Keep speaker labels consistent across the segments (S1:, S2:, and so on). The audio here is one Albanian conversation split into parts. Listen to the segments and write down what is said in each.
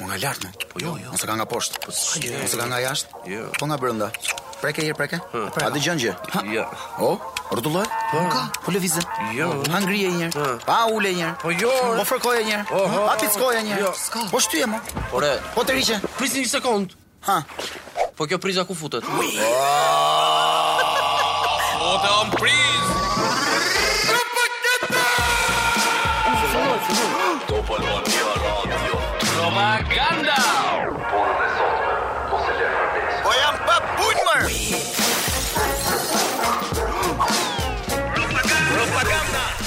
S1: Mo nga lart, mo.
S2: Po jo, jo.
S1: Mos e ka nga poshtë. Po
S2: s'ke.
S1: mos e ka nga jashtë.
S2: Jo.
S1: Po nga brenda. Preke herë, preke. A dëgjon gjë?
S2: Ja.
S1: O, rrotullohet? Po. Ka, po lëvizë.
S2: Jo.
S1: Ha ngrije një herë.
S2: Ha.
S1: Pa ule një herë.
S2: Po jo.
S1: Po fërkoje një herë.
S2: Oho.
S1: Pa pickoje një herë.
S2: Jo.
S1: S'ka. Po shtyje mo.
S3: Ore,
S1: Po të riqe.
S2: Prisni një sekond.
S1: Ha.
S3: po kjo priza ku futet?
S4: O të am priz Propaganda
S1: Po jam pa punëmër.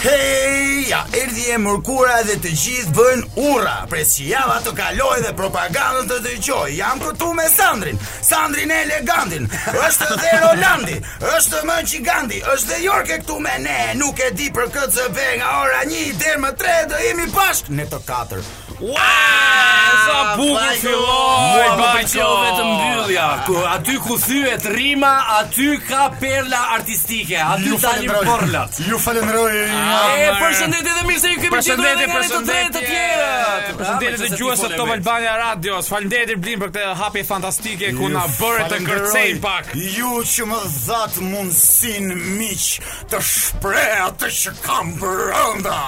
S5: Hej, ja, erdi e mërkura dhe të gjithë bën urra Pres që java të kaloj dhe propagandën të dëgjoj Jam këtu me Sandrin, Sandrin e elegantin është dhe Rolandi, është më gjigandi është dhe Jorke këtu me ne Nuk e di për këtë zëbe nga ora një deri më tre dhe jemi bashkë Ne të katër
S2: Sa bukur filloi,
S6: Mua më
S2: bajqo.
S6: pëlqeu vetëm mbyllja. Ku aty ku thyet rima, aty ka perla artistike. Aty
S7: Ju
S6: tani
S7: falenderoj.
S6: porlat.
S7: Ju falenderoj.
S4: Ah,
S6: E përshëndetje dhe mirë se ju kemi gjetur edhe
S2: Përshëndetje,
S6: nga ne të drejtë të tjerë.
S4: Përshëndetje të gjuhës së Top Albania Radios. Faleminderit Blin për këtë hapje fantastike ku
S7: Ju
S4: na bëre të
S7: falenderoj.
S4: kërcejmë pak.
S7: Ju që më dhat mundësin miq të shpreh atë që kam brenda.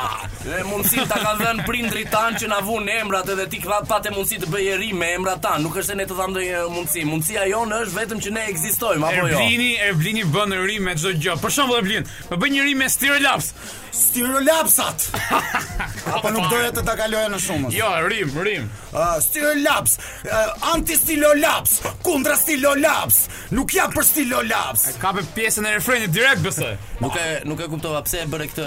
S6: Dhe mundësi ta kanë dhënë prindrit tan që na vun emrat edhe ti kva patë mundësi të bëje rim me emrat tan. Nuk është se ne të dhamë ndonjë mundësi. Mundësia jonë është vetëm që ne ekzistojmë apo jo.
S4: Erblini, Erblini bën rim me çdo gjë. Për shembull Erblin, më bën një rim me Stirolaps.
S7: Stirolapsat. Apo nuk doja të ta kaloja në shumës.
S4: Jo, rim, rim.
S7: Uh, stilolaps, uh, anti-stilolaps, kundra stilolaps, nuk jam për stilolaps.
S4: Kapë pjesën e refrenit direkt besoj.
S6: Nuk e nuk e kuptova pse e bëre këtë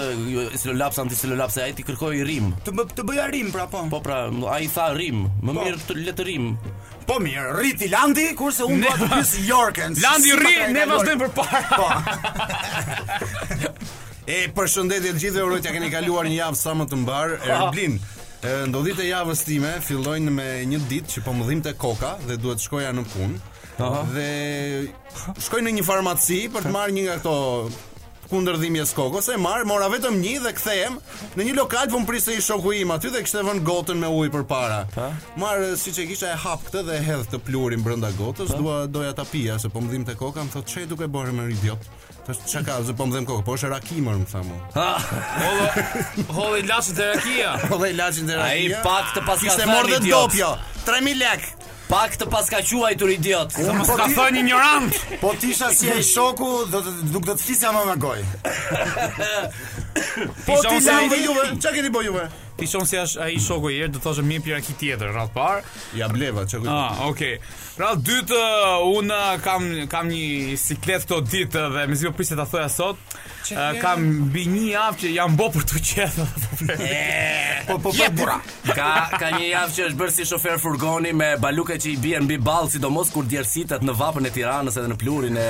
S6: silolaps antisilolaps, ai ti kërkoi rim.
S7: Të, bë, të bëja rim pra po.
S6: Po pra, ai tha rim, më mirë të le të rim.
S7: Po mirë, rriti Landi, kurse unë dua të pyes Jorken. si-
S4: Landi
S7: si
S4: rri,
S7: ma ka e
S4: ne
S7: kaluar-
S4: vazhdojmë përpara.
S7: Po.
S2: E përshëndetje të gjithë dhe uroj t'ja keni kaluar një javë sa më të mbar. Erblin, e, ndodhit e javës time fillojnë me një ditë që po më dhimte koka dhe duhet shkoja në punë. Dhe shkoj në një farmaci për të marrë një nga këto kundër dhimjes kokës, e marr, mora vetëm një dhe kthehem në një lokal po më priste i shoku im aty dhe kishte vënë gotën me ujë përpara. Marr siç e kisha e hap këtë dhe e hedh të plurin brenda gotës, dua doja ta pija se po më dhimte koka, më thotë çe duke bërë më idiot. Tash çka ka, se po më dhem kokë, po është rakimër, më tha mua.
S4: Hollo, hollo i laçit e rakia.
S7: Po dhe ilaçin e
S6: Ai
S7: rakia.
S6: pak të paska
S7: Kishte
S6: thënë
S7: morë dhe
S6: idiot.
S7: dopjo. 3000 lek.
S6: Pak të paska quajtur idiot.
S7: Unë po
S4: Ka
S7: ti-
S4: thënë ignorant.
S7: Po tisha si ai shoku, do të nuk do të flisja më me gojë.
S4: Po ti
S7: Sa i juve? Çka keni bëu juve?
S4: Ti shon se është ai shoku i erë, do të thoshë mirë piraki tjetër radh parë.
S2: Ja bleva, çka kujtë.
S4: Ah, okay. Radh dytë uh, un uh, kam kam një siklet këto ditë uh, dhe mezi po priset ta thoja sot. Uh, kam mbi një javë që jam bë për të qetë.
S7: Po po po. Jepura.
S6: Ka ka një javë që është bërë si shofer furgoni me baluka që i bien mbi ball, sidomos kur djersitet në vapën e Tiranës edhe në plurin e,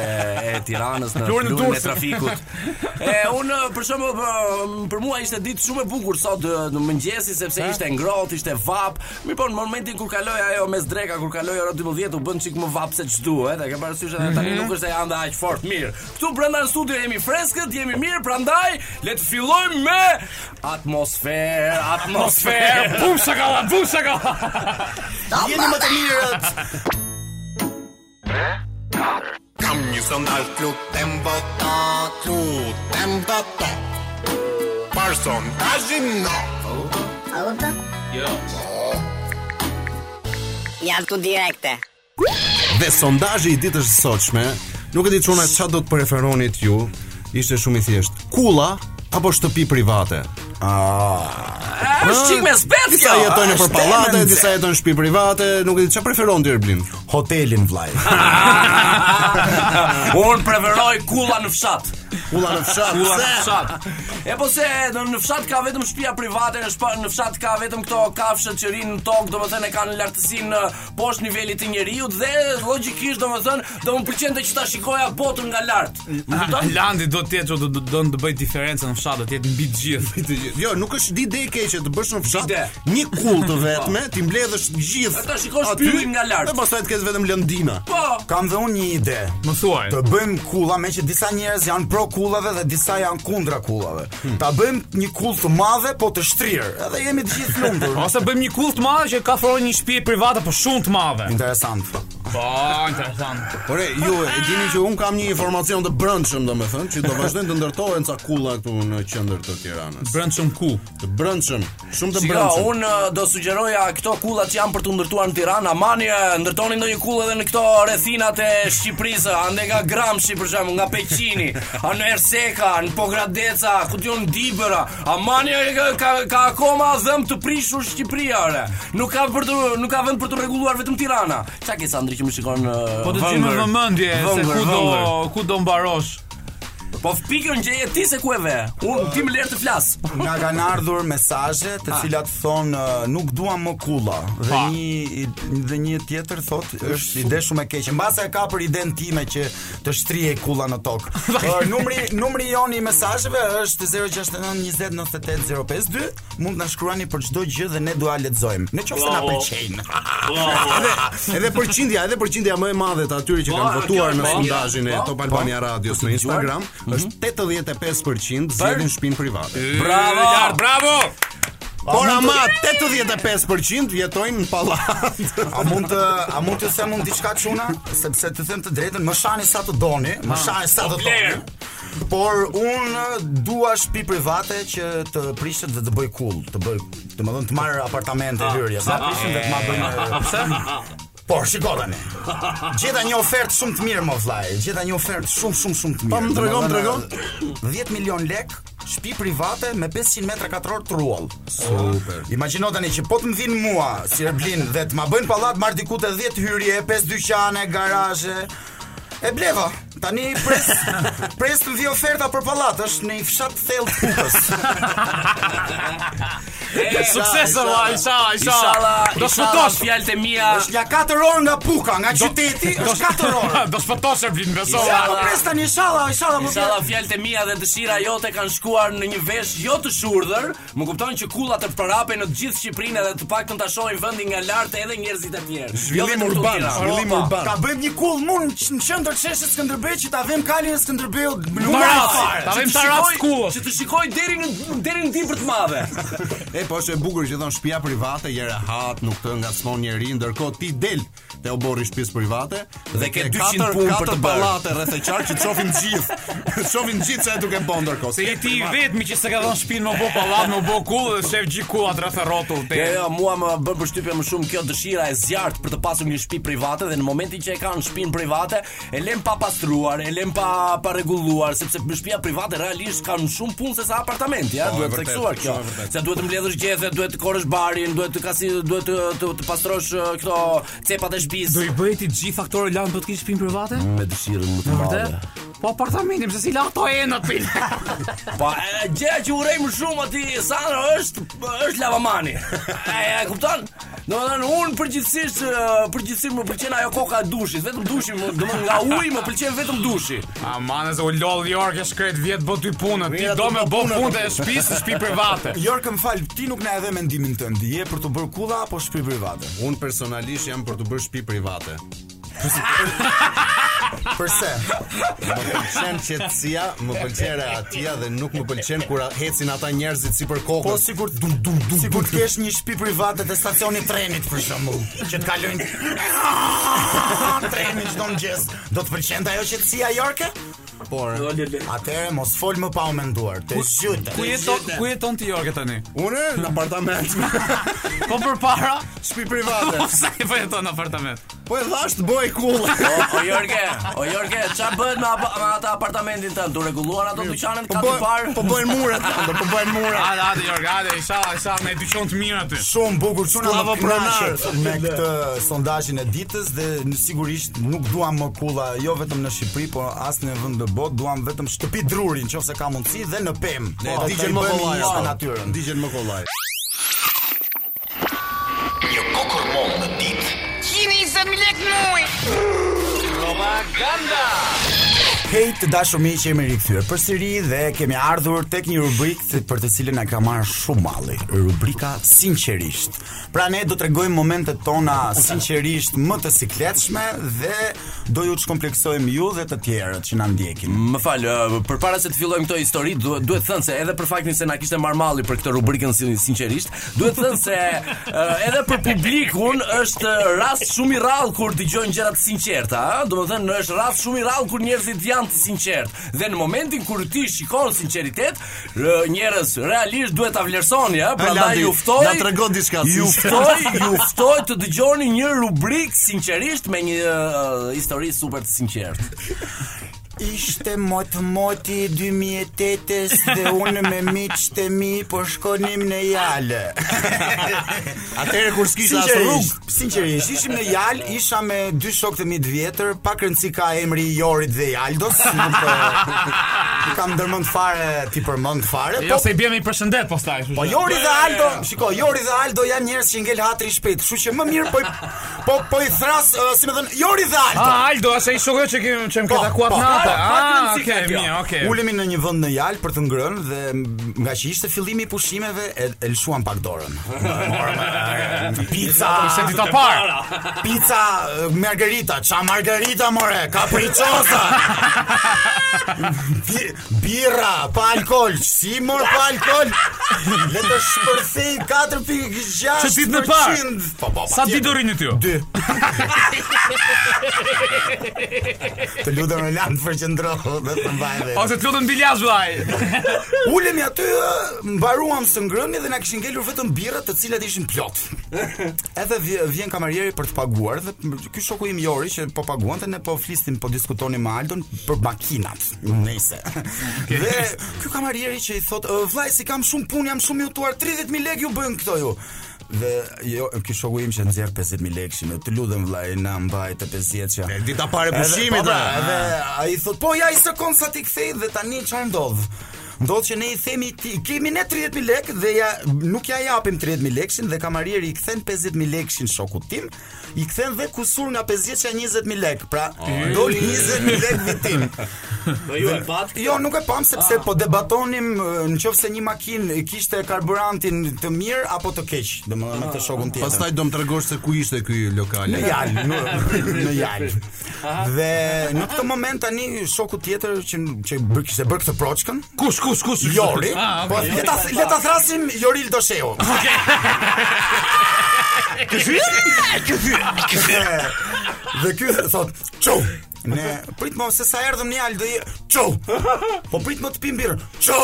S6: e Tiranës, në
S4: Plurin e
S6: plurin e
S4: Durrësit.
S6: trafikut. E unë për shembull për- për mua ishte ditë shumë e bukur sot e, në mëngjesi sepse ishte ngrohtë, ishte vap. Mirë po në momentin kur kaloi ajo mes dreka, kur kaloi ora 12 u bën çik më vap se ç'duhet, e ke parasysh edhe
S4: Mhm.
S6: tani nuk është se anda aq fort. Mirë. Ktu brenda në studio jemi freskët, jemi mirë, prandaj le të fillojmë me atmosferë,
S4: Atmosferë,
S6: atmosferë.
S4: bum shakalla, bum shakalla.
S7: Jeni më të mirët.
S8: Kam një sondazh lutem vota, lutem vota. Për sondazhin no.
S9: A vota? Jo. Javë tu direkte.
S2: Dhe sondazhi i ditës së sotshme, nuk e di çuna çfarë do të preferonit ju, ishte shumë i thjeshtë. Kulla apo shtëpi private?
S6: Është çik me spec
S2: Disa jetojnë nëpër pallate, disa jetojnë në shtëpi private, nuk e di çfarë preferon ti Erblin.
S5: Hotelin vllai.
S6: Un preferoj kulla në fshat.
S2: Kulla në fshat.
S6: Kulla në fshat. E po se në në fshat ka vetëm shtëpia private, në shpa- në fshat ka vetëm këto kafshët që rinë në tokë, domethënë e kanë lartësinë eh, poshtë nivelit të njeriu dhe logjikisht domethënë do më pëlqente që ta shikoja botën nga lart. Më kupton?
S4: Landi do të jetë që do do do të bëj diferencën në fshat, do të jetë mbi të gjithë.
S2: Jo, nuk është ide e keqe të të bësh në fshat
S6: Ide.
S2: një kull të vetme, ti mbledhësh gjithë.
S6: Ata shikosh
S2: aty,
S6: pyllin nga lart.
S2: Dhe pastaj të ketë vetëm lëndina.
S6: Po.
S7: Kam dhe unë një ide.
S4: Më thuaj.
S7: Të bëjmë kulla me që disa njerëz janë pro kullave dhe disa janë kundra kullave. Ta bëjmë një kull të madhe po të shtrirë. Edhe jemi të gjithë lumtur.
S4: Ose bëjmë një kull të madh që ka fronë një shtëpi private po shumë të madhe.
S7: Interesant.
S4: Po, interesant.
S2: Ore, ju e dini që un kam një informacion të brendshëm domethënë që do vazhdojnë të ndërtohen ca kulla këtu në qendër të Tiranës.
S4: Brendshëm ku?
S2: Të brendshëm, shumë të
S6: Shiko,
S2: brendshëm.
S6: unë eh, do sugjeroja këto kullat që janë për të ndërtuar në Tiranë, amani eh, ndërtoni ndonjë kull edhe në këto rrethinat e Shqipërisë, ande nga Gramshi për shembull, nga Peqini, a në Erseka, në Pogradeca, ku diun Dibëra. Amani eh, ka ka, ka akoma dhëm të prishur Shqipëria ore. Nuk ka për të, nuk ka vend për të rregulluar vetëm Tirana. Çka ke Sandri që më shikon? eh,
S4: Po të gjejmë
S6: vëngër?
S4: vëmendje se
S6: Vëngër,
S4: ku do
S6: vëngër.
S4: ku do mbarosh.
S6: Po pikën gjeje ti se ku e ve. Unë ti më lër të flas.
S7: Nga kanë ardhur mesazhe të cilat thonë "Ë, nuk duam më kulla dhe
S4: Pa.
S7: një i- dhe një tjetër thotë është ide shumë e keqe. Mbase e ka për iden time që të shtrihej kulla në tokë. Ë, numri numri jon i mesazheve është 069 20 98 052. Mund na shkruani për çdo gjë dhe ne dua lexojmë. Në qoftë se na pëlqejnë.
S2: Edhe përqindja, edhe përqindja më e madhe të atyre që kanë
S6: a, Po,
S2: votuar
S6: kjo
S2: në
S6: është
S2: sondazhin e
S6: po,
S2: Top
S6: po,
S2: Albania Radios në Instagram
S6: Mhm.
S2: është 85% zgjedhin shtëpinë private.
S6: Bravo!
S4: Lart, bravo!
S6: po,
S2: Por ama 85% jetojnë në pallat.
S7: A mund të a mund të them unë diçka çuna, sepse të them të drejtën, më shani sa të doni, më shani sa të doni. Por unë dua shtëpi private që të prishet dhe të bëj kull, të bëj, domethënë të marr apartamente hyrje, sa prishin dhe të marr bëjnë. Po, shiko tani. Gjeta një ofertë shumë të mirë, më vllai. Gjeta një ofertë shumë shumë shumë të mirë.
S2: Po, më tregon,
S7: Domethënë, 10 milion lek, shtëpi private me 500 metra katror truall. Super. Imagjino tani që po të më vinë mua si Erblin dhe të ma bëjnë pallat marr diku te 10 hyrje, 5 dyqane, garazhe. E bleva. Tani pres pres të vi oferta për pallat, është në një fshat thellë të Kukës.
S4: Sukses valla, inshallah,
S6: Inshallah,
S4: inshallah. Do
S6: inshallah
S4: shfutosh.
S6: fjalët e mia.
S7: Është ja 4 orë nga Puka, nga qyteti, është 4 orë.
S4: Do shfutosh Ervin beso.
S7: Ja, po pres tani inshallah, inshallah më
S6: Inshallah fjalët e mia dhe dëshira jote kanë shkuar në një vesh jo të shurdhër. Më kupton që kullat të përrapen në të gjithë Shqipërinë dhe të paktën ta shohin vendin nga lart edhe njerëzit e tjerë. Jo
S2: Zhvillim urban, zhvillim urban.
S7: Ka bëjmë një kull mund në qendër qeshë Skënderbej që ta vëmë kalin e Skënderbeut numër
S4: Taras,
S7: fare.
S4: ta vëmë taras skullës.
S6: Që të shikoj deri në deri në dimër të madhe.
S2: E po është e bukur që thon shtëpia private je rehat, nuk të ngacmon njeri, ndërkohë ti del te oborri shtëpisë private dhe
S6: ke
S2: ke
S6: 400
S2: katër-
S6: punë për
S2: katër
S6: të bërë.
S2: pallate rreth e qark që të shohin të gjithë. Të shohin të gjithë se duke bën ndërkohë.
S4: Se je ti i vetmi që se ka dhënë shtëpinë më bo pallat, më bo kull dhe shef gjithë kullat rreth e rrotull te.
S6: Jo, jo, mua më bën përshtypje më shumë kjo dëshira e zjarrt për të pasur një shtëpi private dhe në momentin që e kanë shtëpinë private, e lëm pa pastruar, e lëm pa pa rregulluar, sepse shtëpia private realisht kanë shumë punë se sa apartamenti, ja, duhet të theksuar kjo. Se duhet të mbledhësh gjethe, duhet të korrësh barin, duhet të kasi, duhet të të, të pastrosh eh, këto cepat e
S4: Do
S6: shtëpisë.
S4: i bëj ti gjithë aktorë lan për të kisë shtëpinë private?
S6: Me dëshirën më të
S4: Vërtet? Po apartamentin, pse si la ato e në pilë?
S6: Po, e, gjëja që urej më shumë aty Sandra është është lavamani. E, e kupton? Domethënë unë përgjithsisht e, përgjithsisht më pëlqen ajo koka e dushit, vetëm dushi, më- domethënë nga uji më pëlqen vetëm dushi.
S4: A Ah, manë se u lol Jorg e shkret vjet bë dy punë, ti do me bë punë të shtëpisë, shtëpi private.
S7: Jorkë më fal, ti nuk na e dhe mendimin tënd. Ti je për të bërë kulla apo shtëpi private?
S2: Unë personalisht jam për të bërë shtëpi private.
S7: Përse?
S2: Më pëlqen qetësia, më pëlqen rehatia dhe nuk më pëlqen kur hecin ata njerëzit si për
S7: Po
S2: kokën.
S7: sigur dum dum dum. Sigur të kesh një shtëpi private te stacioni i trenit për shembull, që të kalojnë treni çdo mëngjes. Do të pëlqente ajo qetësia Jorkë?
S2: por
S7: Atëherë mos fol më pa u menduar. Të zhytë.
S4: Ku jeton ku jeton ti Jorg tani?
S2: unë në apartament,
S4: Po përpara,
S2: shtëpi private.
S4: sa i po jeton në apartament?
S2: Po e thash të bëj kull.
S6: O, o Jorge, o Jorge, ç'a bën me, apa- me ata apartamentin tënd? Do rregulluan ato dyqanet
S2: Po
S6: ka të
S2: bëj
S6: parë?
S2: po bëjnë muret, ando, po bëjnë muret.
S4: Hajde, hajde Jorg, hajde, inshallah, inshallah me dyqon të mirë aty.
S7: Shumë bukur çuna më
S2: Slavo
S7: pronar
S2: Pronar.
S7: me këtë sondazhin e ditës dhe në sigurisht nuk duam më kulla jo vetëm në Shqipëri, por as në vend të botë, duam vetëm shtëpi druri nëse ka mundësi dhe në pemë.
S2: Ne
S7: Po, atë
S2: digjen
S7: i
S2: më
S7: bëjmë
S2: kollaj.
S7: një
S2: ando,
S7: në natyrën.
S2: Digjen më kollaj.
S8: Një kokormon në ditë
S9: 120 lekë muaj.
S8: Propaganda
S7: Hej të dashur miq, jemi rikthyer përsëri dhe kemi ardhur tek një rubrikë të- për të cilën na ka marrë shumë malli, rubrika sinqerisht. Pra ne do t'rregojmë momentet tona sinqerisht më të sikletshme dhe do ju çkompleksojmë ju dhe të tjerët që na ndjekin.
S6: Më fal, ë, përpara se të fillojmë këtë histori, duhet duhet thënë se edhe për faktin se na kishte marr malli për këtë rubrikën sin- sinqerisht, duhet thënë se ë, edhe për publikun është rast shumë i rrallë kur dëgjojnë gjëra të sinqerta, ë? Domethënë është rast shumë i rrallë kur njerëzit janë të sinqertë. Dhe në momentin kur ti shikon sinqeritet, ë, njerëz realisht duhet ta vlerësoni, ë? Prandaj
S2: Landi,
S6: ju ftoj.
S2: na tregon diçka,
S6: Ju
S2: sinqer.
S6: ftoj, ju ftoj të dëgjoni një rubrikë sinqerisht me një ë, histori super të sinqertë.
S7: Ishte mot moti 2008-s dhe unë me miqtë e mi po shkonim në Jalë.
S2: Atëherë kur s'kisha as rrugë.
S7: Sinqerisht, sinqerisht, ishim në Jal, isha me dy shokë të mi të vjetër, pa rëndësi ka emri i Jorit dhe Jaldos, nuk eh, nuk kam ndërmend fare ti përmend fare,
S4: Jo
S7: po
S4: se i bjemi i përshëndet postaj. kështu
S7: Po
S4: që-
S7: Jori dhe Aldo, shiko, Jori dhe Aldo janë njerëz që ngel hatri shpejt, kështu që më mirë po i- po po i thras, eh, si më thon, Jori dhe Aldo.
S4: Ah, Aldo, është ai shoku që kemi që më ka
S7: Po,
S4: takuar
S7: po,
S4: në ata.
S7: po, po,
S4: Ah,
S7: po,
S4: okay,
S7: po,
S4: mirë, okay.
S7: Ulemi në një vend në Jal për të ngrënë dhe m- nga që ishte fillimi i pushimeve e, e lshuan pak dorën. Morëm, e, Pizza,
S4: Se ti ta parë.
S7: pizza, e, margarita, ça margarita more, kapriçosa. Bi- Birra, pa alkol, si mor pa alkol. Le të shpërthej 4.6%.
S4: Që ditë në parë.
S7: Po, po,
S4: Sa
S7: patjetër.
S4: ditë do rini ty?
S7: Dy. të lutem Roland për qëndrohu dhe të mbaj dhe.
S4: Ose të lutem bilaz vllai.
S7: Ulemi aty, ë, mbaruam së ngrëni dhe na kishin ngelur vetëm birrat të cilat ishin plot. Edhe vje- vjen kamarieri për të paguar dhe ky shoku im Jori që po paguante ne po flisnim, po diskutonim me Aldon për makinat. Nëse. Dhe ky kamarieri që i thot, "Ë, "Vllai, si kam shumë punë, jam shumë i hutuar, 30000 lekë ju bën këto ju." Dhe jo, ky shoku im që nxjerr 50000 lekë, shimë, të lutem vllai, na mbaj të 50
S2: E,
S7: që.
S2: Dita pare
S7: Edhe,
S2: pushimit.
S7: po, pra,
S2: a.
S7: edhe ai thot, po ja i sekond sa ti kthej dhe tani çfarë ndodh? Ndodh që ne i themi ti kemi ne 30000 lekë dhe ja nuk ja japim 30000 lekshin dhe kamarieri i kthen 50000 lekshin shokut tim, i kthen dhe kusur nga 50 që 20000 lekë. Pra, doli 20000 lekë vitim.
S6: Do ju e pat.
S7: Jo, nuk e pam sepse po debatonim në qoftë se një makinë kishte karburantin të mirë apo të keq, domethënë me këtë shokun tjetër.
S2: Pastaj do më tregosh se ku ishte ky lokal.
S7: Në jalë, në, në jalë. Dhe në këtë moment tani shoku tjetër që që bë- kishte bërë këtë proçkën,
S4: Kush, kush, kush?
S7: Jori,
S4: Ah,
S7: po
S4: okay.
S7: le ta le ta thrasim Joril Dosheu. Dhe- Dhe ky thot, "Çu." Ne prit më se sa erdhëm në jalë do i çu. Po prit më të pim birën. Çu.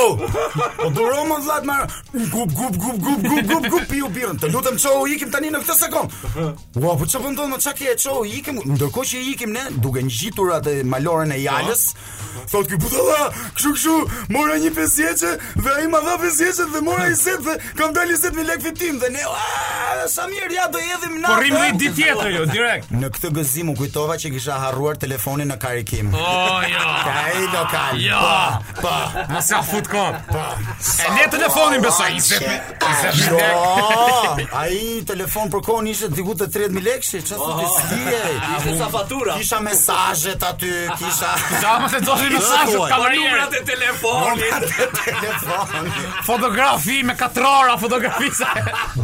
S7: Po duro më vllat më gup gup gup gup gup gup gup piu birën. Të lutem çu, ikim tani në këtë sekond. Ua, po çfarë po ndodh më çka ke çu, ikim. Ndërkohë që ikim ne duke ngjitur atë malorën
S2: Po.
S7: e jalës, thot ky butalla, kështu kështu, mora një pesjeçe dhe ai ma dha pesjeçe dhe mora i set dhe kam dalë 20000 lekë fitim dhe ne, "Ah, sa mirë ja do hedhim na."
S4: Po rrim dhe ditë tjetër jo, direkt.
S7: Në këtë gëzim u kujtova që kisha harruar telefonin në karikim.
S4: Oh, jo.
S7: Ka ai lokal.
S4: Jo.
S7: Po, po,
S4: Mos ja fut kot.
S7: po.
S4: E le telefonin besoj. i zep- i zep një
S7: Jo,
S4: lek.
S7: ai telefon për kohën ishte diku te 30000 lekë, çfarë thotë si e?
S6: Ishte sa fatura.
S7: Kisha mesazhet aty, kisha
S4: Sa më të doshin në sashu
S2: thuaj.
S4: kamarierë.
S6: numrat e telefonit.
S7: telefon.
S4: Fotografi me katrora, fotografi sa.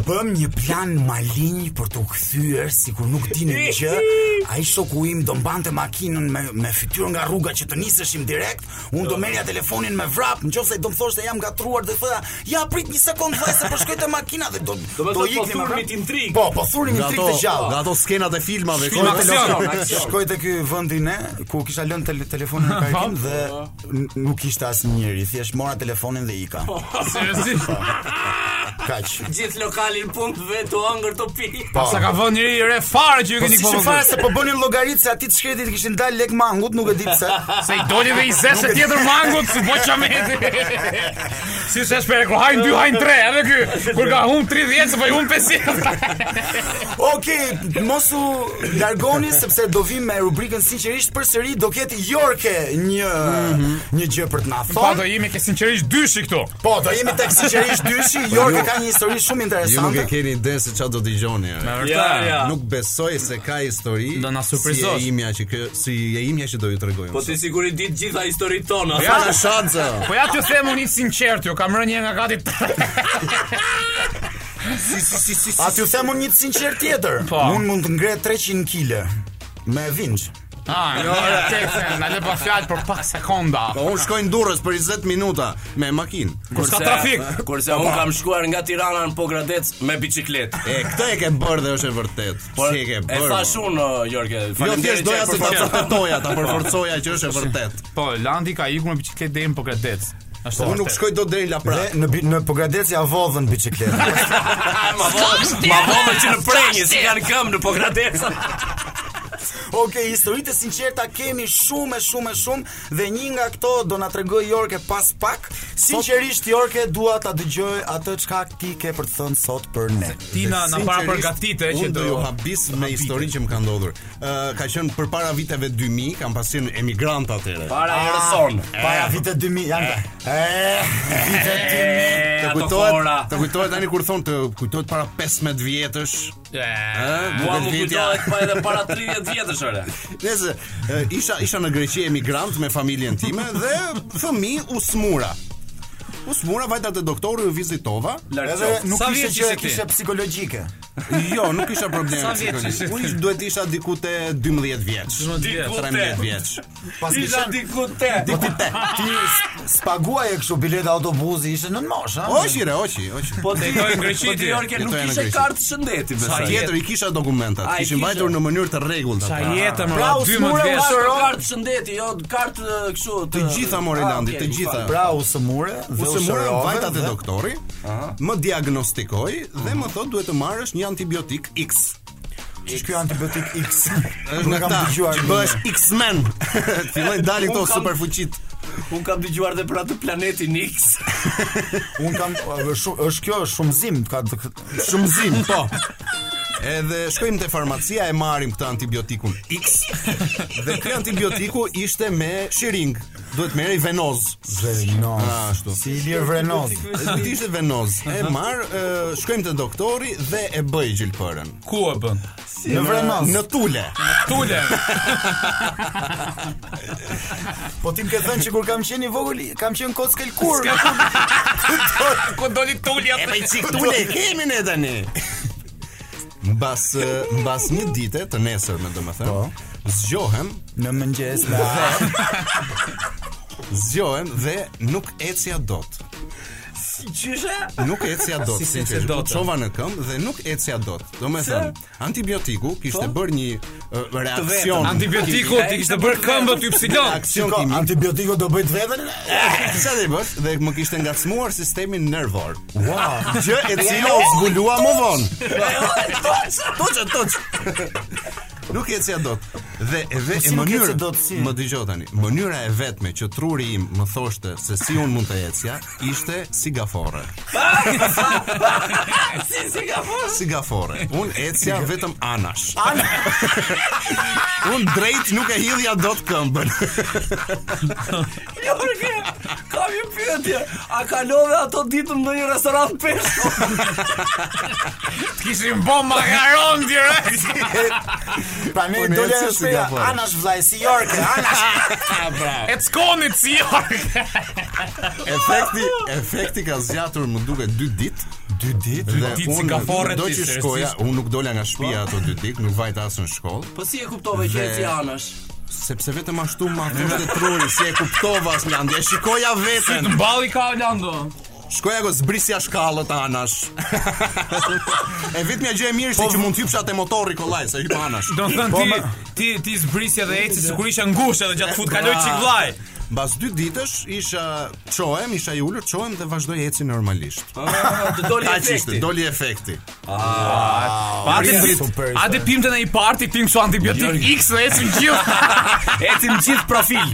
S7: Bëm një plan malinj për të u kthyer sikur nuk dinim gjë. Ai shoku im do mbante makinën me me fytyrë nga rruga që të niseshim direkt. Unë do merrja telefonin me vrap, nëse do më thoshte jam gatruar dhe thoya, "Ja prit një sekond vllai se po shkoj te makina" dhe do
S6: Do me
S7: do
S6: thotë, po
S7: iknim me
S6: thurmit
S7: vrap.
S6: intrig.
S7: Po, po thurmit
S2: Nga
S7: intrig
S2: ato,
S7: të gjallë.
S2: nga ato skenat e filmave.
S4: Film
S2: kohë-
S4: aksion.
S7: Shkoj te ky vendi ne ku kisha lënë tele telefonin në karikim dhe n- nuk ishte asnjëri, thjesht mora telefonin dhe ika.
S4: Seriozisht.
S7: Kaq.
S6: Gjithë lokalin punë të vetë u ëngër të pi.
S7: Po.
S4: Sa ka vënë njëri re fare që ju
S7: Po
S4: keni
S7: si
S4: po.
S7: që fare se po bënin llogaritë se aty të shkretit kishin dalë lek mangut, nuk e di pse.
S4: Se i doli dhe i zese tjetër mangut, si bo qameti. si se shpere, kur hajnë 2, hajnë 3, edhe ky, kur ka hum 30, se po i hum 50.
S7: Okej, mos u largoni sepse do vim me rubrikën sinqerisht përsëri, do ketë Jorke një një gjë për të na
S4: pa do
S7: thënë.
S4: jemi ke sinqerisht dyshi këtu.
S7: Po, do jemi tek sinqerisht dyshi, Jorke ka ka një histori shumë
S2: Ju nuk e
S7: interesante.
S2: keni ide se çfarë do dëgjoni. ore.
S4: Me vërtet.
S3: Ja.
S2: Nuk besoj se ka histori.
S4: Do na surprizosh.
S2: Si e imja që kë, si e imja që do ju tregoj.
S6: Po ti siguri dit gjitha historitë tona.
S2: ja ka shanse.
S4: Po ja t'ju them unë i sinqert, ju kam rënë një nga gati.
S7: A t'ju them unë një të sinqer tjetër.
S4: Po.
S7: Unë mund të ngre 300 kg me vinç.
S4: Ah, jo, ja, tekse, na le pa fjalë për pak sekonda.
S2: Po unë shkoj në Durrës për 20 minuta me makinë.
S4: Kur s'ka trafik.
S6: Eh, Kurse unë kam shkuar nga Tirana në Pogradec me bicikletë.
S2: E, këtë e ke bërë dhe është e vërtet. si e ke
S6: e
S2: bërë?
S6: thash unë Jorge,
S2: Jo thjesht
S6: faleminderit që
S2: doja
S6: e
S2: se ta
S6: përfaqësove.
S2: përfetoja, ta përforcoja që është e vërtet.
S4: Po, Landi ka ikur me bicikletë deri në Pogradec. Ashtu.
S2: Po unë nuk shkoj dot deri në Lapra.
S7: Dhe në bi- në Pogradec ja vodhën biçikletën.
S6: Ma vonë, ma vonë që në prenjë, si kanë këmbë në Pogradec.
S7: Okej, historitë e sinqerta kemi shumë e shumë e shumë dhe një nga këto do na tregoj Jorke pas pak. Sinqerisht Jorke dua ta dëgjoj atë çka ti ke për të thënë sot për ne.
S4: Tina na para përgatite që
S2: Unë do ju habis me historinë që më ka ndodhur. Ë, ka qenë përpara viteve 2000, kam pas qenë emigrant atëherë.
S6: Para Erson.
S7: Para vitit 2000 janë. E Eh, vitet 2000
S6: E,
S2: Të
S6: ato
S2: kujtohet,
S6: fora.
S2: të kujtohet tani kur thon të kujtohet para 15 vjetësh. Ë,
S6: Eh, Mua
S2: duket
S6: më
S2: vitja.
S6: kujtohet pa edhe para 30 vjetësh ore.
S2: Nëse e, isha isha në Greqi emigrant me familjen time dhe fëmi u smura. U smura vajta te doktori u vizitova.
S7: Edhe nuk
S4: Sa
S7: ishte
S4: vjeç
S7: që
S4: ishe ti?
S7: kishe psikologjike.
S2: Jo, nuk isha problem.
S4: Sa vjeç ishe?
S2: Unë ish- duhet isha diku te 12 vjeç.
S4: Diku
S2: 13 vjeç.
S7: Pas kisha
S6: diku te.
S7: ti te. Ti spaguaj e kështu bileta autobusi ishte nën moshë, ha?
S2: Oqi re, oqi, oqi.
S6: Po ti
S4: Dikoj në Greqi
S6: Po ti
S4: ti.
S6: Jorge nuk
S2: Dikoj në
S6: kishe
S2: Greqi.
S6: kartë shëndeti
S2: Sa
S6: besoj.
S2: tjetër i kisha dokumentat.
S6: A, i
S2: Kishin
S6: kishe?
S2: vajtur në mënyrë të rregullt
S4: Sa
S2: ata.
S4: jetë më
S7: Pra, u
S4: 12
S7: smurë,
S4: vjeç.
S7: u
S6: Kartë kartë shëndeti, jo kartë eh, kështu
S2: Të gjitha Morilandi,
S6: Ah,
S2: të
S6: okej,
S2: gjitha.
S7: Pra u sëmure dhe
S2: Ose morën
S7: shërove
S2: vajtat e
S7: dhe-
S2: doktori, më diagnostikoi dhe më thotë duhet të marrësh një antibiotik X.
S7: Që ky antibiotik X.
S2: Është
S7: Nuk
S2: nga
S7: e kam
S2: ta
S7: dëgjuar.
S2: që bëhesh X-Men. Fillojnë dalin këto superfuqit.
S6: Un kam dëgjuar edhe për atë planetin X.
S7: Un kam është shu- është kjo është shumëzim ka
S2: Shumëzim, po. Edhe shkojmë te farmacia e marrim këtë antibiotikun X. Dhe ky antibiotiku ishte me shiring. Duhet merrej venoz.
S7: Vrenoz.
S2: Ah, Ashtu.
S7: Si Ilir Vrenoz.
S2: Duhet ishte venoz. E marr, e, shkojmë te doktori dhe e bëj gjilpërën.
S4: Ku e bën?
S7: Në Vrenoz.
S2: Në tule.
S4: Tule.
S7: Po ti më ke thënë që kur kam qenë i vogël, kam qenë kockel kur.
S4: Ku doli tulja?
S2: E me qik tule e kemi ne tani. Mbas e, mbas një dite të nesërme domethënë, zgjohem,
S7: Në mëngjes me hapë.
S2: zgjohem dhe nuk ecja dot.
S6: Qyshe?
S2: Nuk ecja dot,
S4: Si se
S2: sinqerisht.
S4: do të.
S2: Çova në këmbë dhe nuk ecja dot. Domethënë, antibiotiku kishte bërë një e, reaksion.
S4: Antibiotiku ti kishte bërë këmbët ypsilon.
S2: Reaksion
S7: Ka
S2: kimik.
S7: antibiotiku do bëj të veten.
S2: Sa dhe bësh dhe më kishte ngacmuar sistemin nervor.
S7: Wow.
S2: Gjë e cila u zbulua më vonë.
S7: Toç, toç.
S2: Nuk e cja dot. Dhe e ve
S7: Po si
S2: e
S7: nuk
S2: mënyrë
S7: eci dot, si?
S2: Më dëgjoj tani. Mënyra e vetme që truri im më thoshte se si un mund të ecja ishte si gafore.
S6: Si si ka fort?
S2: Si gafore. Un ecja vetëm anash. un drejt nuk e hidhja dot këmbën.
S6: Jorge, kam një pyetje. A kalove ato ditën në një restorant peshku?
S4: Kishim bom makaron direkt.
S7: Pra ne
S2: Po, ne
S7: dole
S2: eci
S7: në
S2: si
S7: shpia,
S2: gafore.
S7: anash vllai si Jorke, anash.
S2: Pra,
S4: E ckonit si Jorge.
S2: efekti efekti ka zgjatur më duket 2 ditë. 2 ditë.
S4: ditë si gafore
S2: do
S4: ti,
S2: që
S4: seriozisht.
S2: shkoja, unë nuk dola nga shtëpia ato 2 ditë, nuk vajta as në shkollë.
S6: Po si e kuptove që
S2: Dhe-
S6: e si anash?
S2: sepse vetëm ashtu ma thoshte truri si e kuptova as mjandje, shikoja veten.
S4: Mballi ka Lando.
S2: Shkoja go zbrisja shkallët anash. e vetmja gjë e mirë ishte që mund të hypsha te motorri kollaj, se hypa anash.
S4: Do të thënë ti ti ti zbrisje dhe eci sikur isha ngushtë edhe
S2: po,
S4: gjatë fut kaloj çik vllaj.
S2: Mbas dy ditësh isha çohem, isha i ulur, çohem dhe vazhdoi eci normalisht.
S6: Të doli
S2: Kaq ishte,
S6: efekti.
S2: doli efekti.
S4: Pa atë
S7: super,
S4: A dhe pimte në një parti, pim kështu antibiotik X dhe ecim gjithë. ecim gjithë profil.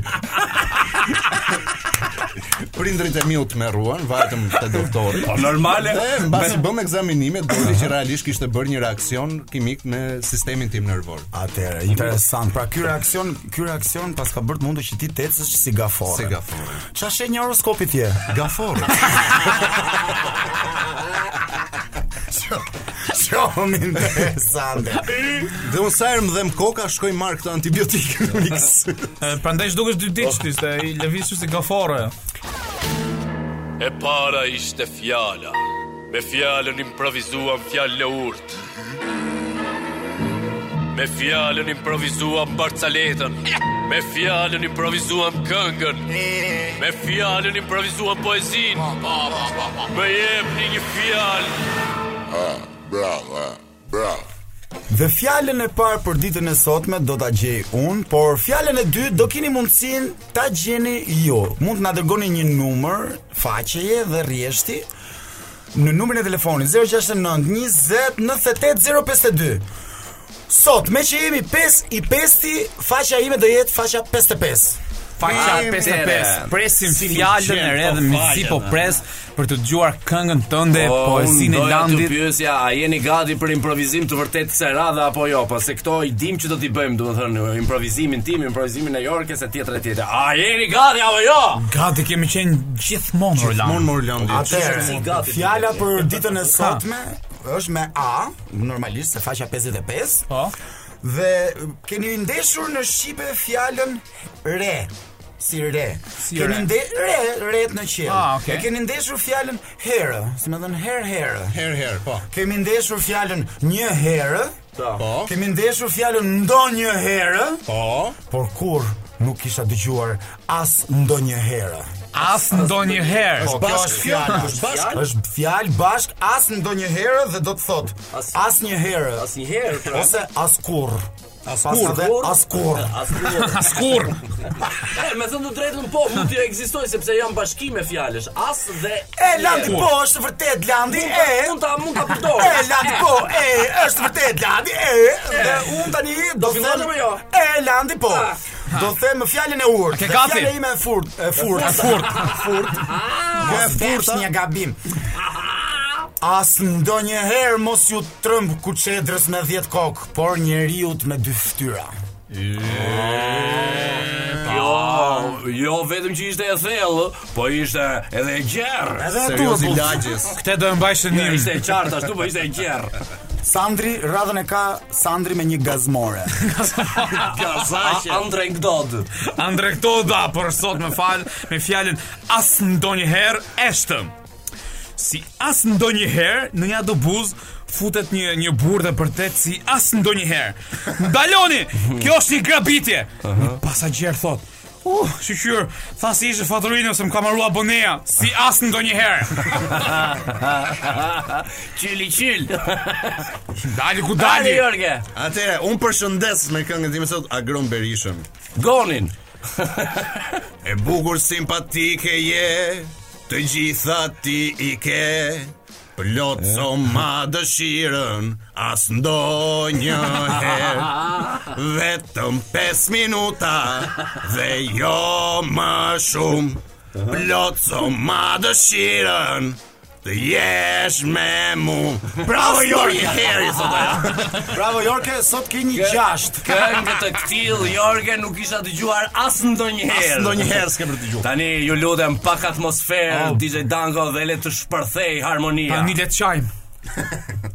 S2: prindrit e miu të merruan, vajtëm te doktori. Po
S6: normale.
S2: Dhe mbasi bëm ekzaminimet, doli që realisht kishte bërë një reaksion kimik në sistemin tim nervor.
S7: Atëherë, interesant. Pra ky reaksion, ky reaksion pas ka bërë të mundur që ti të ecësh si gafore.
S2: Si gafore.
S7: Çfarë shenjë horoskopi ti?
S2: Gafore.
S7: Shumë interesante.
S2: Dhe unë sa herë më dhem koka, shkoj marr këtë antibiotik mix.
S4: Prandaj dukesh dy ditë ti, se i lëvish si gafore.
S10: E para ishte fjala. Me fjalën improvisuam fjalë urt. Me fjalën improvisuam barcaletën. Me fjalën improvisuam këngën. Me fjalën improvisuam poezinë. Më jepni një fjalë.
S7: Dhe fjalën e parë për ditën e sotme do ta gjej unë, por fjalën e dytë do keni mundësinë ta gjeni ju. Mund të na dërgoni një numër, faqeje dhe rrjeshti në numrin e telefonit 069 20 98 052. Sot, me që jemi 5 i 5-ti, faqa ime do jetë faqa 55.
S4: Faqa
S6: Mirë,
S4: 55.
S6: tere.
S4: Presim
S6: Si
S4: fjalën
S6: qenë,
S4: e re
S6: po
S4: dhe me si
S6: falen,
S4: po pres për të dëgjuar këngën tënde, poesinë e
S6: Po, Të
S4: landit.
S6: pyesja, a jeni gati për improvizim të vërtetë se radha apo jo? Po se këto i dim që do t'i bëjmë, domethënë improvizimin tim, improvizimin e Jorkës e tjetër e tjetër. A jeni gati apo jo?
S4: Gati kemi qenë gjithmonë
S2: Mon
S4: Roland.
S2: Morlandi.
S6: Si
S7: Atëherë,
S6: gati ti
S7: fjala për ditën e sotme është me A, normalisht se faqa 55.
S4: Po.
S7: Dhe um, keni ndeshur në shqipe fjalën re. Si re.
S4: Si
S7: keni
S4: re.
S7: nde re, ret në qiell.
S4: Ah, okay.
S7: E keni ndeshur fjalën herë, si më thënë herë herë.
S2: Her her, po.
S7: Kemi ndeshur fjalën një herë.
S2: Po.
S7: Kemi ndeshur fjalën ndonjë herë,
S2: Po.
S7: por kur nuk kisha dëgjuar as ndonjë herë.
S4: As ndonjëherë.
S7: Po, kjo është fjalë, është bashk, është fjalë bashk as ndonjëherë dhe do të thotë
S6: As-
S7: asnjëherë
S6: Asnjëherë. pra.
S7: ose askur. Askur dhe askur.
S6: Asnjëherë.
S4: Skur.
S6: E, me thënë të drejtën po, mund të ekzistoj sepse janë bashkime fjalësh. As dhe
S7: E Landi po është vërtet Landi e
S6: mund ta mund ta përdor.
S7: E Landi po e është vërtet Landi e dhe un tani do të
S6: fillosh
S7: them
S6: apo jo?
S7: E Landi po. Do të them fjalën e urtë.
S4: ke
S7: dhe
S4: gati?
S7: Fjala ime e furt, e furt, e furt, furt. Jo e furt një gabim. As ndonjëherë mos ju trëmb kuçedrës me 10 kokë, por njeriu me dy fytyra.
S6: Jo, jo vetëm që ishte e thellë, po ishte edhe e gjerë.
S7: Edhe po, e
S2: Serioz i
S7: turbull.
S2: lagjes.
S4: Këtë do e mbaj shënim.
S6: Ishte e qartë ashtu, po ishte e gjerë.
S7: Sandri radhën e ka Sandri me një gazmore.
S6: A- Andre Ngdod.
S4: Andre këto da për sot më fal me fjalën as ndonjëherë eshtëm. Si as ndonjëherë në një buz futet një një burrë dhe përtet si as ndonjëherë. Ndaloni, kjo është një grabitje. Një pasagjer thot. Uh, shqyr, tha si ishe faturini ose më ka marrua boneja, si as ndonjëherë.
S6: Qili qil.
S4: Dali ku
S6: Dani
S4: dali.
S6: Jorge.
S2: Atëre, un përshëndes me këngën time sot Agron Berishën.
S6: Gonin.
S2: E bukur simpatike je, të gjitha ti i ke. Plot so ma dëshirën, as ndonjë herë Vetëm 5 minuta dhe jo më shumë Plot so ma dëshirën, të jesh me mu Bravo Jorgi Heri, sot ajo
S7: Bravo Jorke, sot ke një gjashtë.
S6: Këngë të këtil Jorge nuk isha dëgjuar as ndonjëherë.
S2: As ndonjëherë s'ke për të dëgjuar.
S6: Tani ju lutem pak atmosferë, DJ Dango dhe le të shpërthej harmonia.
S4: Oh. Tani le të çajm.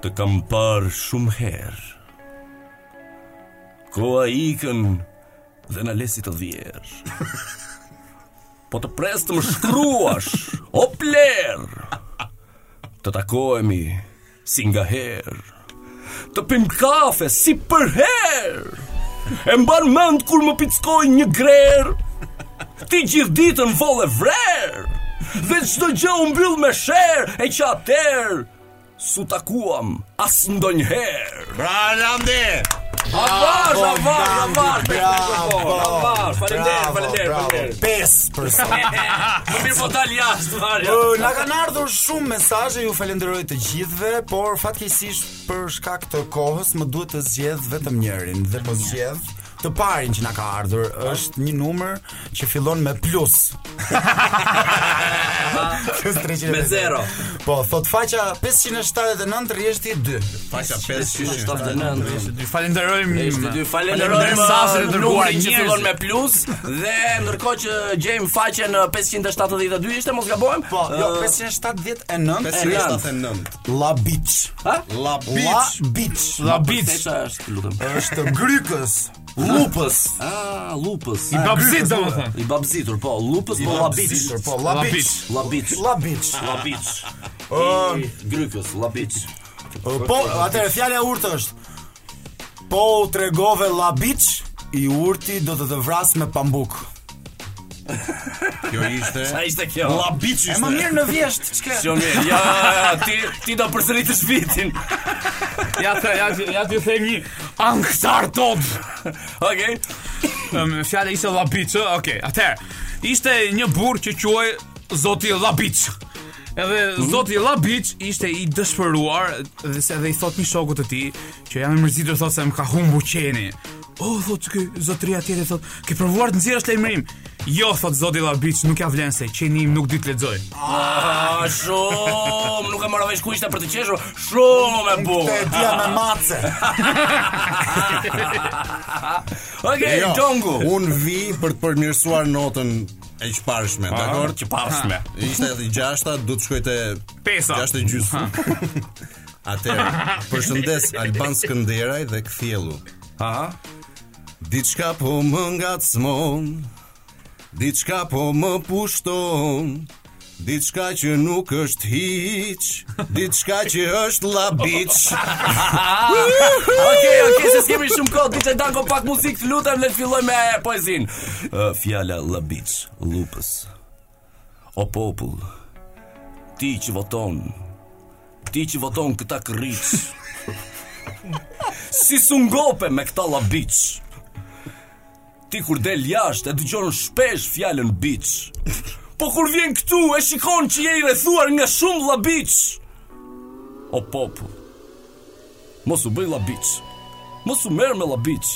S6: Të kam parë shumë herë Koa ikën dhe në lesi të vjerë Po të pres të më shkruash O plerë Të takohemi si nga herë Të pim kafe si për herë E mban mend kur më pickoj një grerë Ti gjithë ditën vole vrerë Dhe çdo gjë u mbyll me sherë E që atëherë su takuam as ndonjëherë.
S2: Pra Landi
S6: Avash, avash, avash.
S7: Bravo.
S6: Avash, faleminderit, faleminderit, faleminderit.
S7: 5 për sot.
S6: Më mirë po dal jashtë, Mario.
S7: Ë, Na kanë ardhur shumë mesazhe, ju falenderoj të gjithëve, por fatkeqësisht për shkak të kohës më duhet të zgjedh vetëm njërin dhe po zgjedh të parin që na ka ardhur është një numër që fillon me plus. Plus 300.
S6: Me zero.
S7: Po, thot faqa 579 rrjeshti 2.
S2: Faqa 500.
S6: 579.
S4: Falenderojmë.
S6: Ishte dy
S4: Falenderojmë
S6: falenderojmë
S4: sasë të dërguar
S6: numrin që fillon me
S4: njerëz.
S6: plus dhe ndërkohë që gjejmë faqen eh, 572 ishte mos gabojmë.
S7: Po, jo,
S6: eh,
S7: 579
S2: 579.
S7: La Beach.
S6: Ha?
S2: La
S7: La
S2: bitch.
S7: Beach.
S4: La biç.
S6: Teca është, lutem.
S7: Është grykës.
S6: Lupës. Ah, lupës.
S4: I babzit domethënë.
S6: I babzitur, po, lupës po labiç.
S7: Babzitur, Po,
S4: La
S7: La
S4: biç.
S7: Beach.
S6: Labiç.
S7: La Beach.
S6: Labiç. I grykës, labiç.
S7: Po, atëherë fjala e urtë është. Po u tregove La Beach, i urti do të të vras me pambuk.
S2: Kjo ishte
S6: Sa ishte kjo? Labiç
S7: E më mirë në vjesht, çka?
S6: Jo mirë, ja, ja, ti ti do përsëritësh vitin.
S4: Ja të ja të- ja t'ju them një ankthar top.
S6: Okej.
S4: Um, fjala ishte Labiç, ë? Okej. Atëherë, ishte një burr që quhej Zoti Labiç. Edhe Zoti Labiç ishte i dëshpëruar dhe se edhe i thot një shokut të tij që jam i mërzitur thot se më ka humbur qeni. O oh, thot ky zotëria tjetër thot, "Ke provuar të nxjerrësh lajmërim?" Jo, thot Zoti Labiç, nuk ja vlen se qeni im nuk di të lexoj.
S6: Ah, shumë, nuk e marrë vesh ku ishte për të qeshur. Shumë e
S7: Te
S6: bukur.
S7: e dia me mace.
S6: Okej, Dongu.
S2: Jo, Un vi për të përmirësuar notën e qparshme, dakor?
S6: Qparshme.
S2: Ishte edhe gjashta, du të shkoj te
S4: Pesa.
S2: Gjashtë e gjysmë. Atëherë, përshëndes Alban Skënderaj dhe Kthiellu.
S6: Aha.
S2: Diçka po më ngacmon, diçka po më pushton. Diçka që nuk është hiç, diçka që është llabiç.
S6: Okej, okej, se s'kemi shumë kohë, diçka danko pak muzikë, lutem le të filloj me poezinë. Uh, fjala lëbiç, lupës. O popull, ti që voton, ti që voton këta kërriç. si sungope me këta lëbiç. Ti kur del jashtë e dëgjon shpesh fjalën biç. Po kur vjen këtu e shikon që je i rrethuar nga shumë llabiç. O popull, Mos u bëj labiç. Mos u merr me labiç.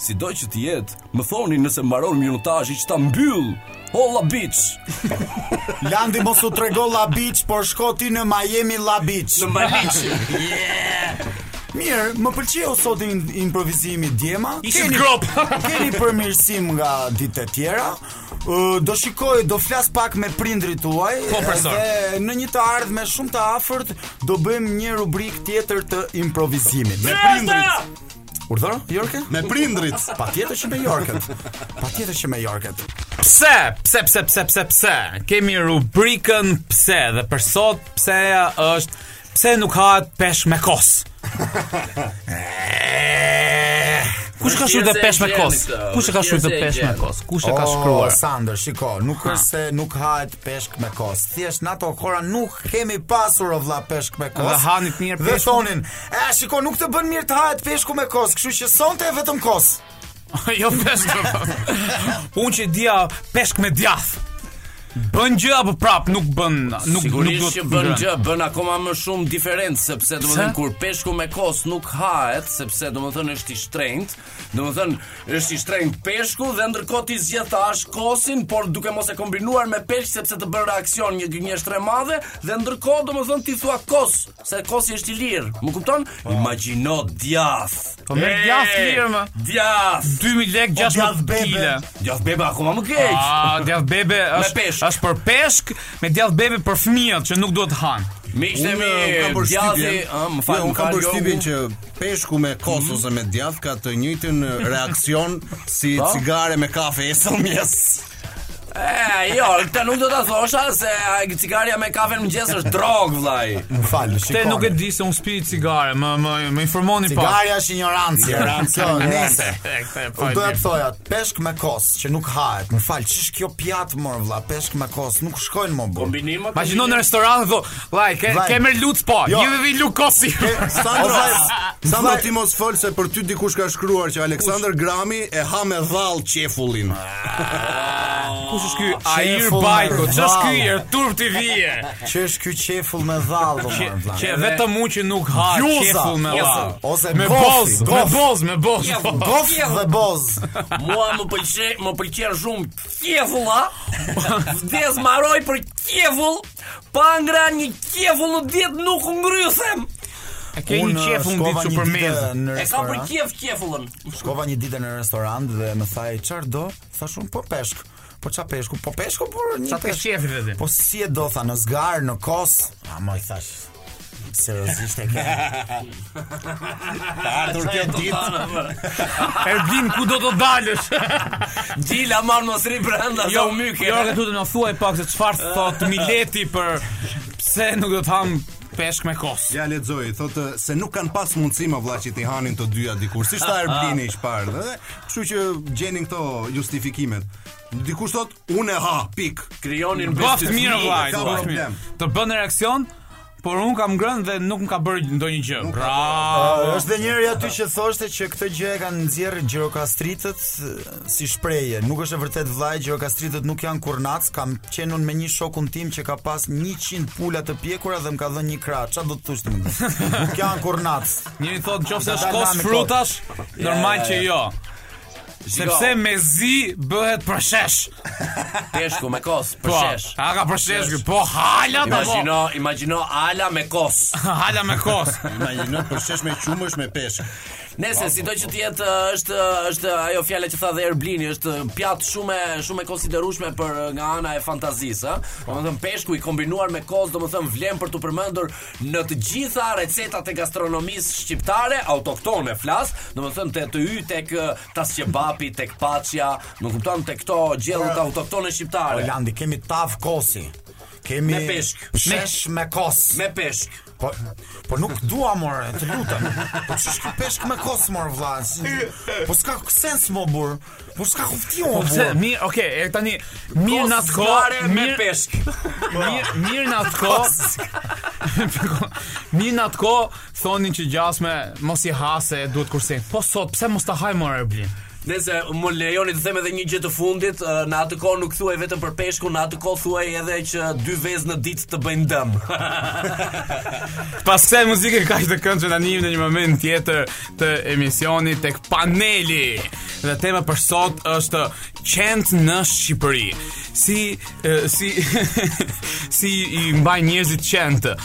S6: Sido që të jetë, më thoni nëse mbaron minutazhi që ta mbyll. O labiç.
S7: Landi mos u trego La Beach, por shko ti në Miami La Beach.
S6: Maliç.
S7: Mirë, më pëlqeu sot in, improvizimi djema.
S4: Ishte grop.
S7: keni përmirësim nga ditët e tjera. Ë, Do shikoj, do flas pak me prindrit tuaj.
S4: Po, profesor.
S7: Dhe në një të ardhme shumë të afërt do bëjmë një rubrik tjetër të improvizimit.
S2: Me prindrit,
S7: Urdhër, Jorke?
S2: me prindrit.
S7: Patjetër që me Jorket. Patjetër që me Jorket.
S4: Pse, pse, pse, pse, pse, pse. Kemi rubrikën pse dhe për sot pseja është pse nuk hahet pesh me kos. Kush ka shkruar
S6: Është
S4: pesh me
S6: e
S4: kos?
S6: gjeni këtë,
S4: Kush e ka
S6: është
S4: shkruar
S6: e
S4: pesh me
S6: gjeni. Oh,
S4: kos? Kush e ka shkruar?
S7: O, Sander, shiko, nuk është se nuk hahet peshk me kos. Thjesht në ato kohra nuk kemi pasur o vlla peshk me kos.
S4: Dhe hanit mirë
S7: Dhe
S4: peshkun.
S7: thonin, "E shiko, nuk të bën mirë të hahet peshku me kos, kështu që sonte e vetëm kos."
S4: jo pesh me kos. Unë që dia peshk me djath. Bën gjë apo prap nuk bën, nuk nuk do
S6: Sigurisht
S4: të
S6: që bën
S4: ngrën.
S6: gjë, bën akoma më shumë diferencë sepse domethënë
S4: Pse?
S6: kur peshku me kos nuk hahet, sepse domethënë është i shtrenjtë, domethënë është i shtrenjtë peshku dhe ndërkohë ti zgjedh ta hash kosin, por duke mos e kombinuar me peshk sepse të bën reaksion një gënjeshtër e madhe dhe ndërkohë domethënë ti thua kos, se kosi është i lirë. Më kupton? Imagjino djath.
S4: Po merr djath lirë, më.
S6: Djath.
S4: 2000
S6: Po
S4: lek 16
S7: djath bebe.
S4: kg.
S6: Djath beba akoma më keq.
S4: Ah, djath bebe është
S6: peshk.
S4: është për peshk, me djath bebe për fëmijët që nuk duhet han.
S6: Miqtë e
S2: Unë
S6: mi,
S2: kam
S6: djathi,
S2: përshtypjen,
S6: ëh, më
S2: jo,
S6: fal,
S2: unë
S6: më Mhm.
S2: kam
S6: fal, jo,
S2: përshtypjen që peshku me kos ose me djath ka të njëjtin reaksion si
S6: Po?
S2: cigare me kafe e sëmjes.
S6: E, jo, këtë nuk do ta thosha se a, cigaria me kafe në mëngjes është drog, vllai.
S7: Më fal, shiko.
S4: Te nuk e di se un spi cigare, më më më informoni pak.
S7: Cigaria është ignorancë, ignorancë, nice.
S4: E, këtë e
S7: Unë
S4: fal
S7: do të
S4: mirë.
S7: thoja, peshk me kos që nuk hahet. Më fal, ç'është kjo pjatë mor vlla, peshk me kos, nuk shkojnë më bu.
S6: Kombinim apo?
S4: Imagjino në restoran dhe thon, "Vllai, ke
S7: Vllai.
S4: ke merr luc po,
S7: Jo.
S4: jemi vi lukosi."
S7: Sandro,
S2: Sa do ti mos fol se për ty dikush ka shkruar që Aleksander Grami e ha me dhall qefullin.
S6: Ah.
S4: Kush është ky Air Bajko? Ç'është ky Er Ertur TV?
S7: Që është ky qefull me dhall domethënë. vlla.
S4: Që vetëm unë që nuk ha
S7: Gjuza.
S4: qefull me
S7: Ose-
S4: vall.
S7: ose
S4: me
S7: gofi,
S4: boz, me
S7: gof.
S4: boz, me boz.
S7: Gof dhe boz.
S6: Mua më pëlqej, më pëlqen shumë qevulla. Vdes maroj për qevull, pa ngran një qevull në ditë nuk ngrysem.
S4: E ke një
S7: Unë,
S4: qefull në
S7: shkova
S4: ditë
S7: një
S4: supermez.
S7: ditë në
S6: E ka për
S7: restoran.
S6: qef qevullën.
S7: Shkova një ditë në restorant dhe më thaj çfarë do? Thash unë po peshk. Po ç'a peshku? Po peshku por një
S4: Sa të
S7: peshk.
S4: qefi vetë.
S7: Po si e do tha në zgar, në kos? A më i thash. Seriozisht e ke.
S2: Ardhur kjo ditë.
S4: Erblin ku do të dalësh?
S6: Gjila marr mos ri brenda sa u myke.
S4: jo, këtu do na thuaj pak se çfarë thot Mileti për pse nuk do të ham peshk me kos.
S2: Ja lexoj, thotë se nuk kanë pas mundësi më vlla që t'i hanin të dyja dikur, si shta Erblini i shparë, dhe, kështu që gjenin këto justifikimet. Dikush thot unë e ha, pik.
S6: Krijonin
S4: Boft
S6: besë
S4: mirë vllaj,
S2: ka
S4: boft mirë.
S2: problem.
S4: Të bën reaksion, por un kam ngrënë dhe nuk më ka bërë ndonjë
S7: Po,
S4: gjë. Pra, Bravo.
S7: është dhe njëri aty që thoshte që këtë gjë e kanë nxjerrë gjirokastritët eh, si shprehje. Nuk është e vërtet vllaj, gjirokastritët nuk janë kurnac. Kam qenë unë me një shokun tim që ka pas 100 pula të pjekura dhe më ka dhënë një krah. Çfarë do të thosh ti? Nuk janë kurnac.
S4: Njëri thot nëse është
S7: Da, da,
S4: kos
S7: me kos.
S4: frutash, normal
S6: ja, Jo.
S4: që jo. Sepse me zi bëhet përshesh.
S6: Peshku me kos,
S4: Po,
S6: përshesh.
S4: a ka përshesh, ky? po hala të mo.
S6: Imagjino, imagjino ala me kos.
S4: Hala me kos.
S2: Imagjino përshesh me qumësh me peshk.
S6: Nëse sido që të jetë ë, është është ajo fjala që tha dhe Erblini, është pjatë shumë shumë e konsiderueshme për ë, nga ana e fantazisë, ë. Domethënë peshku i kombinuar me kozë, domethënë vlen për të përmendur në të gjitha recetat e gastronomisë shqiptare, autoktone flas, domethënë te të hy tek ë, tas qebapi, tek paçja, më kupton tek këto
S4: Po.
S6: gjellët autoktone shqiptare.
S7: Holandi kemi tav kosi. Kemi
S6: Me peshk.
S7: Shesh me kos.
S6: Me peshk.
S7: Po, po nuk dua more, të lutem. Po ç'është ky peshk me kos mor vlla? Si- Po s'ka sens mo burr. Po s'ka kuptim mo
S4: Po pse
S7: burr.
S4: mirë, okay, e tani mirë në atë
S6: Kosgare
S4: kohë,
S6: me
S4: mirë
S6: peshk.
S4: Mirë, mirë në atë kohë. mirë në atë kohë thonin që gjasme mos i hase, duhet kursin. Po sot pse mos ta haj më Erblin?
S6: Nëse më lejoni të them edhe një gjë të fundit, ë, në atë kohë nuk thuaj vetëm për peshkun, në atë kohë thuaj edhe që dy vezë në ditë të bëjnë dëm.
S4: Pas kësaj muzike kaq të këndshme tani në një moment tjetër të emisionit tek paneli. Dhe tema për sot është qend në Shqipëri. Si e, si si i mbajnë njerëzit qend? e,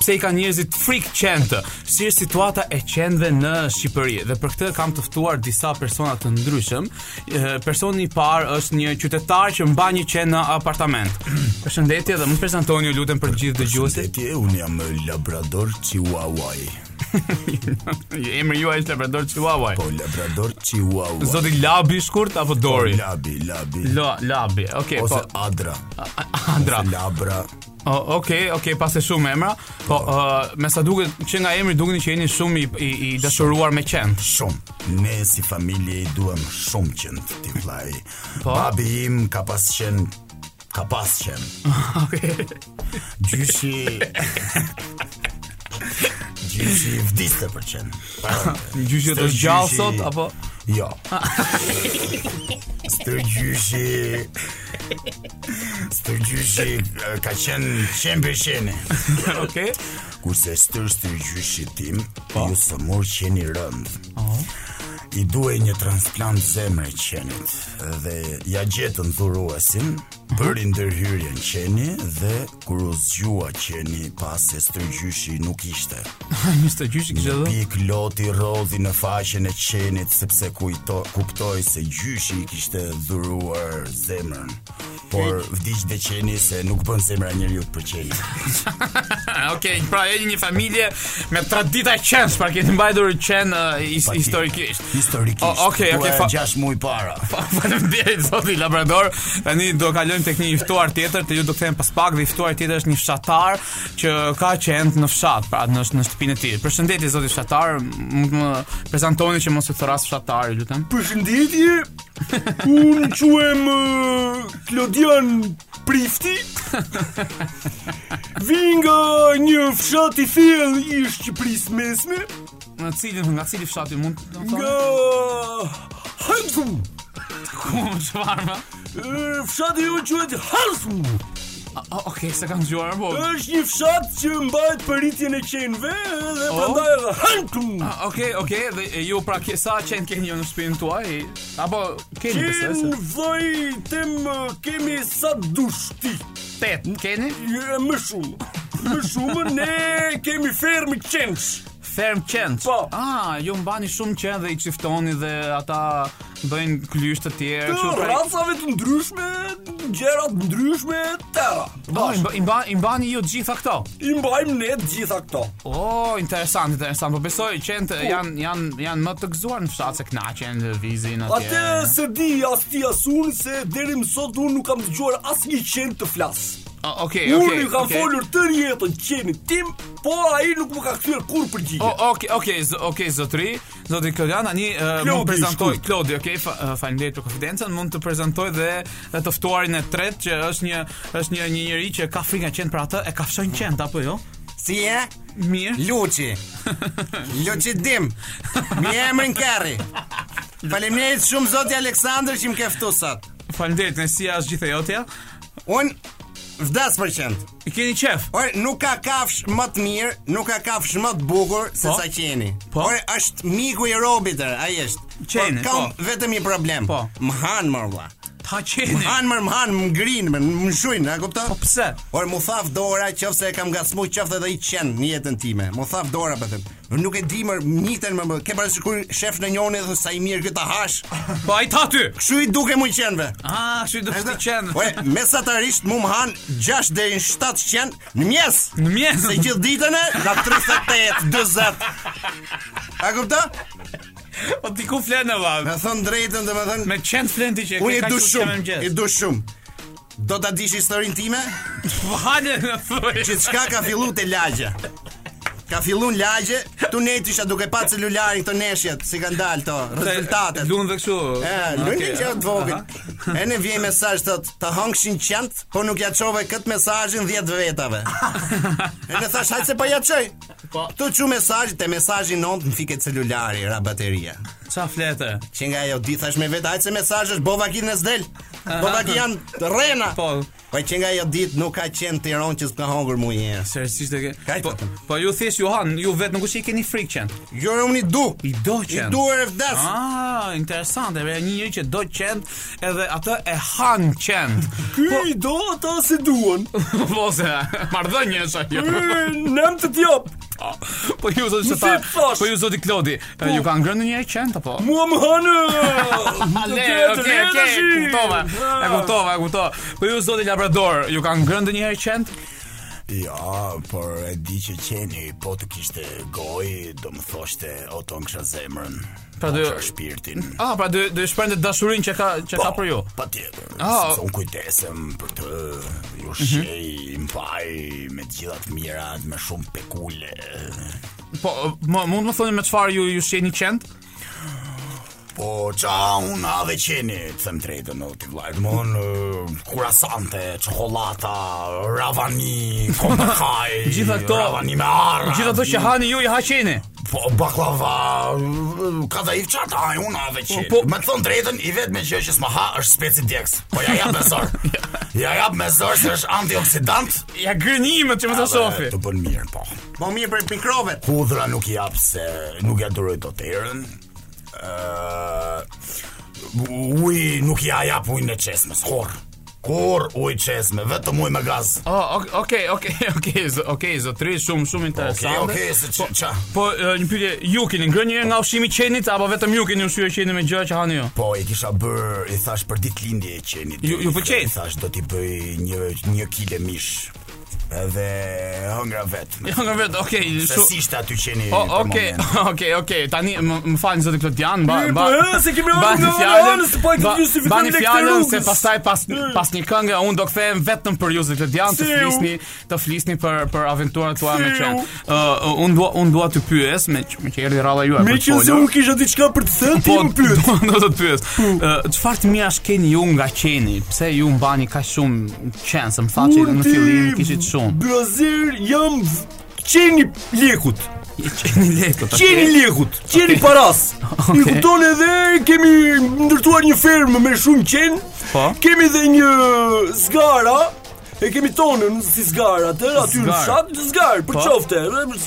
S4: Pse i kanë njerëzit frik qend? Si është situata e qendve në Shqipëri? Dhe për këtë kam të ftuar disa persona të ndryshëm. E, Personi i parë është një qytetar që mban një qend në apartament. Përshëndetje dhe më prezantoni ju lutem për gjithë dëgjuesit.
S7: Ti un jam labrador chihuahua.
S4: Emri juaj është Labrador Chihuahua.
S7: Po labrador chihuahua.
S4: Zoti Labi i shkurt apo Dori?
S7: Labi, labi.
S4: La, labi. Okej,
S7: Ose
S4: po.
S7: adra.
S4: Andra.
S7: Labra.
S4: O, Okej, okej, pas e shumë emra. Po, ë, me sa duket që nga emri dukeni që jeni shumë i i, i dashuruar me qen.
S7: Shumë. Ne si familje i duam shumë qënë të ti vlaj. Babi im ka pas qenë ka pas qenë.
S4: Okej.
S7: Gjyshi... Gjyshi i vdiste për qenë. Parë.
S4: Gjyshi të gjallë sot apo
S7: Jo. Stërgjyshi. Stërgjyshi eh, ka qenë qenë për qenë.
S4: Okej.
S7: Kurse stër stërgjyshi tim, ju së mor qeni rënd. I duhej një transplant zemre qenit dhe ja gjetën dhuruesin, bëri ndërhyrjen qeni dhe kur u zgjua qeni pas se stërgjyshi nuk ishte.
S4: Një të gjyshi kishte
S7: Një
S4: dhënë.
S7: pik loti rodhi në faqen e qenit sepse kujto, kuptoj se gjyshi i kishte dhuruar zemrën. Por vdiqte qeni se nuk bën zemra njeriu për qeni.
S4: Okej, pra jeni një familje me tradita qensh, pra keni mbajtur qen ë, his- historikisht.
S7: Historikisht.
S4: O, Okej, okej, fa-
S7: 6 muaj para.
S4: Pa, Faleminderit zoti Labrador. Tani do kalojmë tek një i ftuar tjetër, te ju do kthehen pas pak dhe i ftuar tjetër është një fshatar që ka qenë në fshat, pra në në shtëpinë e tij. Përshëndetje zoti fshatar, mund të më prezantoni që mos u thras fshatar, ju lutem.
S5: Përshëndetje, unë quem eh, Klodian Prifti Vi nga një fshat i thellë i Shqipërisë mesme
S4: Në cilin nga cili fshati mund të thonë?
S6: Hansum
S4: Ku më çfarë më?
S6: Fshati ju quhet Hansum
S4: O, Okej, se kam dëgjuar po.
S6: është një fshat që mbajt përritjen e qenve Dhe
S4: O?
S6: prandaj edhe Hansum
S4: Ah, Okej, okej, dhe e, ju pra ke, sa qenë keni ju në shtëpinë tuaj? Apo keni besoj se
S6: Qenë vloj tem kemi sa dushti
S4: tet keni?
S6: Jo, Më shumë Më shumë ne kemi fermë qenësh
S4: Ferm qenë.
S6: Po.
S4: Ah, ju mbani shumë qenë dhe i çiftoni dhe ata bëjnë klysh të tjerë.
S6: Të
S4: kështu pra-
S6: racave të ndryshme, gjëra të ndryshme, tëra.
S4: Po, i mba- i mba- i mbani ju të gjitha këto.
S6: I mbajmë ne të gjitha këto.
S4: O, interesant, interesant. Po besoj qenë të- janë janë janë më të gëzuar në fshat se knaqen, lëvizin atje.
S6: Atë se di as ti as unë se deri më sot unë nuk kam dëgjuar asnjë qen të flas.
S4: O, Okej, okej.
S6: unë i kam
S4: okej.
S6: folur tërë jetën qenit tim, po ai nuk më ka kthyer kur përgjigje.
S4: O, ok, ok, z- ok, zotri, zotri Klodian, tani uh,
S6: Klodi,
S4: mund të prezantoj
S6: shkurt.
S4: Klodi, ok, fa, uh, faleminderit për konfidencën, mund të prezantoj dhe dhe të ftuarin e tretë që është një është një një njerëz që ka frikë nga qenë për atë, e ka fshon qend apo jo?
S2: Si e?
S4: Mirë.
S2: Luçi. Luçi dim. Mi emrin Kerri. Faleminderit shumë zoti Aleksandër që më ke ftuar sot.
S4: Faleminderit, ne si as gjithë e jotja.
S2: Un vdas për qend.
S4: I keni qef.
S2: Por nuk ka kafsh më të mirë, nuk ka kafsh më të bukur se
S4: Po.
S2: sa qeni.
S4: Po.
S2: Por është miku i robit, er, ai është.
S4: Qeni,
S2: Por kam
S4: po.
S2: vetëm një problem.
S4: Po.
S2: Më han më vlla.
S4: Ta qeni.
S2: Han më më han, më ngrin, më më shujnë, a kupton?
S4: Po pse?
S2: Por mu thaf dora qofse e kam gasmu qofte edhe i qen në jetën time. Mu thaf dora po them. Nuk e di më njiten më, më ke parasysh kur shef në njoni dhe sa i mirë këtë hash.
S4: Po ai ta ty.
S2: Kshu i duke mu i qenve.
S4: Ah, kështu do të qen.
S2: Po mesatarisht mu më han 6 deri në 7 qen në mjes.
S4: Në mjes.
S2: Se gjithë ditën e nga 38 40. A kupton?
S4: Po ti ku flen valla?
S2: Me thon drejtën, domethënë
S4: Me qend flen ti që
S2: unë i
S4: ka
S2: du
S4: qenë
S2: shumë,
S4: mëngjes.
S2: i du shumë. Do ta dish historinë time?
S4: Po hale në thuaj.
S2: që çka ka fillu te lagja. Ka fillun lagje, tu net isha duke pa celularin këto neshjet, si kanë dalë to rezultatet.
S4: Lunë dhe kështu.
S2: E, lunin që të vogël. E ne vjen mesazh thot, të hongshin qend, po nuk ja çove kët mesazhin 10 vetave. e ne thash hajtë se po ja çoj. Tu çu mesazh te mesazhi 9 më fiket celulari, ra bateria.
S4: Ça flete?
S2: Që nga ajo di thash me vetë, hajtë se mesazh është bova kinë s'del. Bova ki janë rrena.
S4: Po.
S2: Po që nga ajo ditë nuk ka qenë Tiranë që s'ka hongur mua një herë.
S4: Seriozisht e ke.
S2: Kajtë.
S4: Po, po ju thjesht Johan, ju vetë nuk është i keni frikë qen.
S2: Jo, unë i du.
S4: I do qen.
S2: I du e vdes.
S4: Ah, interesante, pra një njeri që do qend edhe atë e han qend. Po-
S6: Ky i do ata si duan.
S4: Ose marrëdhënie është ajo.
S6: Nem të t'jap.
S4: Po ju zoti
S6: Më
S4: ta.
S6: thip thash.
S4: Po ju zoti Klodi, e, ju ka ngrënë ndonjëherë qend apo?
S6: Mua më hanë.
S4: Ale, okay, okay, kuptova. E kuptova, e kuptova. Po ju zoti Labrador, ju ka ngrënë ndonjëherë qend?
S7: Ja, por e di që qeni po të kishte goj, do më thoshte o ton kësha zemrën.
S4: Pra do-
S7: o kisha shpirtin.
S4: Ah, pra do do shprende dashurinë që ka që ka për ju.
S7: Pa tjetër,
S4: Ah.
S7: sepse unë kujdesem për të, ju shej, mpaj, me të gjitha të mirat, me shumë pekule.
S4: Po, më mund të më thoni me çfarë ju ju shihni qend?
S7: Po, qa unë adhe qeni, të them drejtën, o t'i vlajtë, më unë, kurasante, çokolata, ravani, kombakaj,
S4: Gjitha këto-
S7: ravani me arra.
S4: Gjithë ato që hani ju i haqeni.
S7: Po, baklava, ka da i fqata, a unë ave që.
S4: Po,
S7: Po,
S4: po-
S7: me të thonë drejtën, i vetë me gjë që s'ma ha është speci djeks. Po ja jap me zor. ja jap me zor se është antioksidant.
S4: Ja gënimet që më të shofi.
S7: Edhe Të bën mirë, po.
S2: Po mirë për mikrovet.
S7: Hudhra nuk i jap se nuk ja duroj dot erën. Ë uji nuk ja jap ujin e çesmës, horr. Kur uji çesme, vetëm ujë me gaz.
S4: Oh, ok- ok, ok, ok, z- ok, zotri, shumë,
S7: Okej,
S4: shumë interesante.
S7: okej, se ç- qa.
S4: Po, e, një pyetje, ju keni ngrënë njëherë nga ushqimi i qenit apo vetëm ju keni ushqyer qenin me gjëra që hani ju?
S7: Po, e kisha bër, i thash për ditëlindje e qenit.
S4: Ju- ju pëlqen?
S7: I thash do t'i bëj një një kile mish. Edhe hëngra vet.
S4: Jo, nga vetë, ok,
S7: Se si
S4: shumë.
S7: ishte aty qeni
S4: O,
S7: për
S4: ok,
S7: moment.
S4: ok, ok, tani më, më falni zoti Klodian, mba
S6: Mirë,
S4: mba.
S6: po, e, se kemi ardhur
S4: bani
S6: nga ana
S4: fjallën,
S6: anës, po e
S4: ba-
S6: justifikojmë
S4: bani
S6: lekë të
S4: fjallën,
S6: rrugës. Eh.
S4: se pastaj pas pas një këngë unë do kthehem vetëm për ju zoti Klodian të
S6: Siu.
S4: flisni, të flisni për për aventurat tuaja me
S6: Siu.
S4: qen. Ë, uh, unë dua unë dua të pyes me që- me që erdhi rradha juaj
S6: Me
S4: për të
S6: që se
S4: folur.
S6: unë kisha diçka për të thënë, ti më pyet.
S4: do- do të të pyes. Ë, Çfarë të mirash keni ju nga qeni? Pse ju mbani kaq shumë qenë? Se më tha që
S6: Unë
S4: në
S6: ti-
S4: fillim kishit shumë.
S6: Brazil jam v- qeni lekut.
S4: Qeni lekut.
S6: Qeni lekut, qeni paras. I kupton edhe kemi ndërtuar një fermë me shumë qen.
S4: Po.
S6: Kemi edhe një zgara. E kemi tonën si zgarë atë, aty në
S4: Zgarë.
S6: fshat, zgarë, për
S4: Po.
S6: qofte,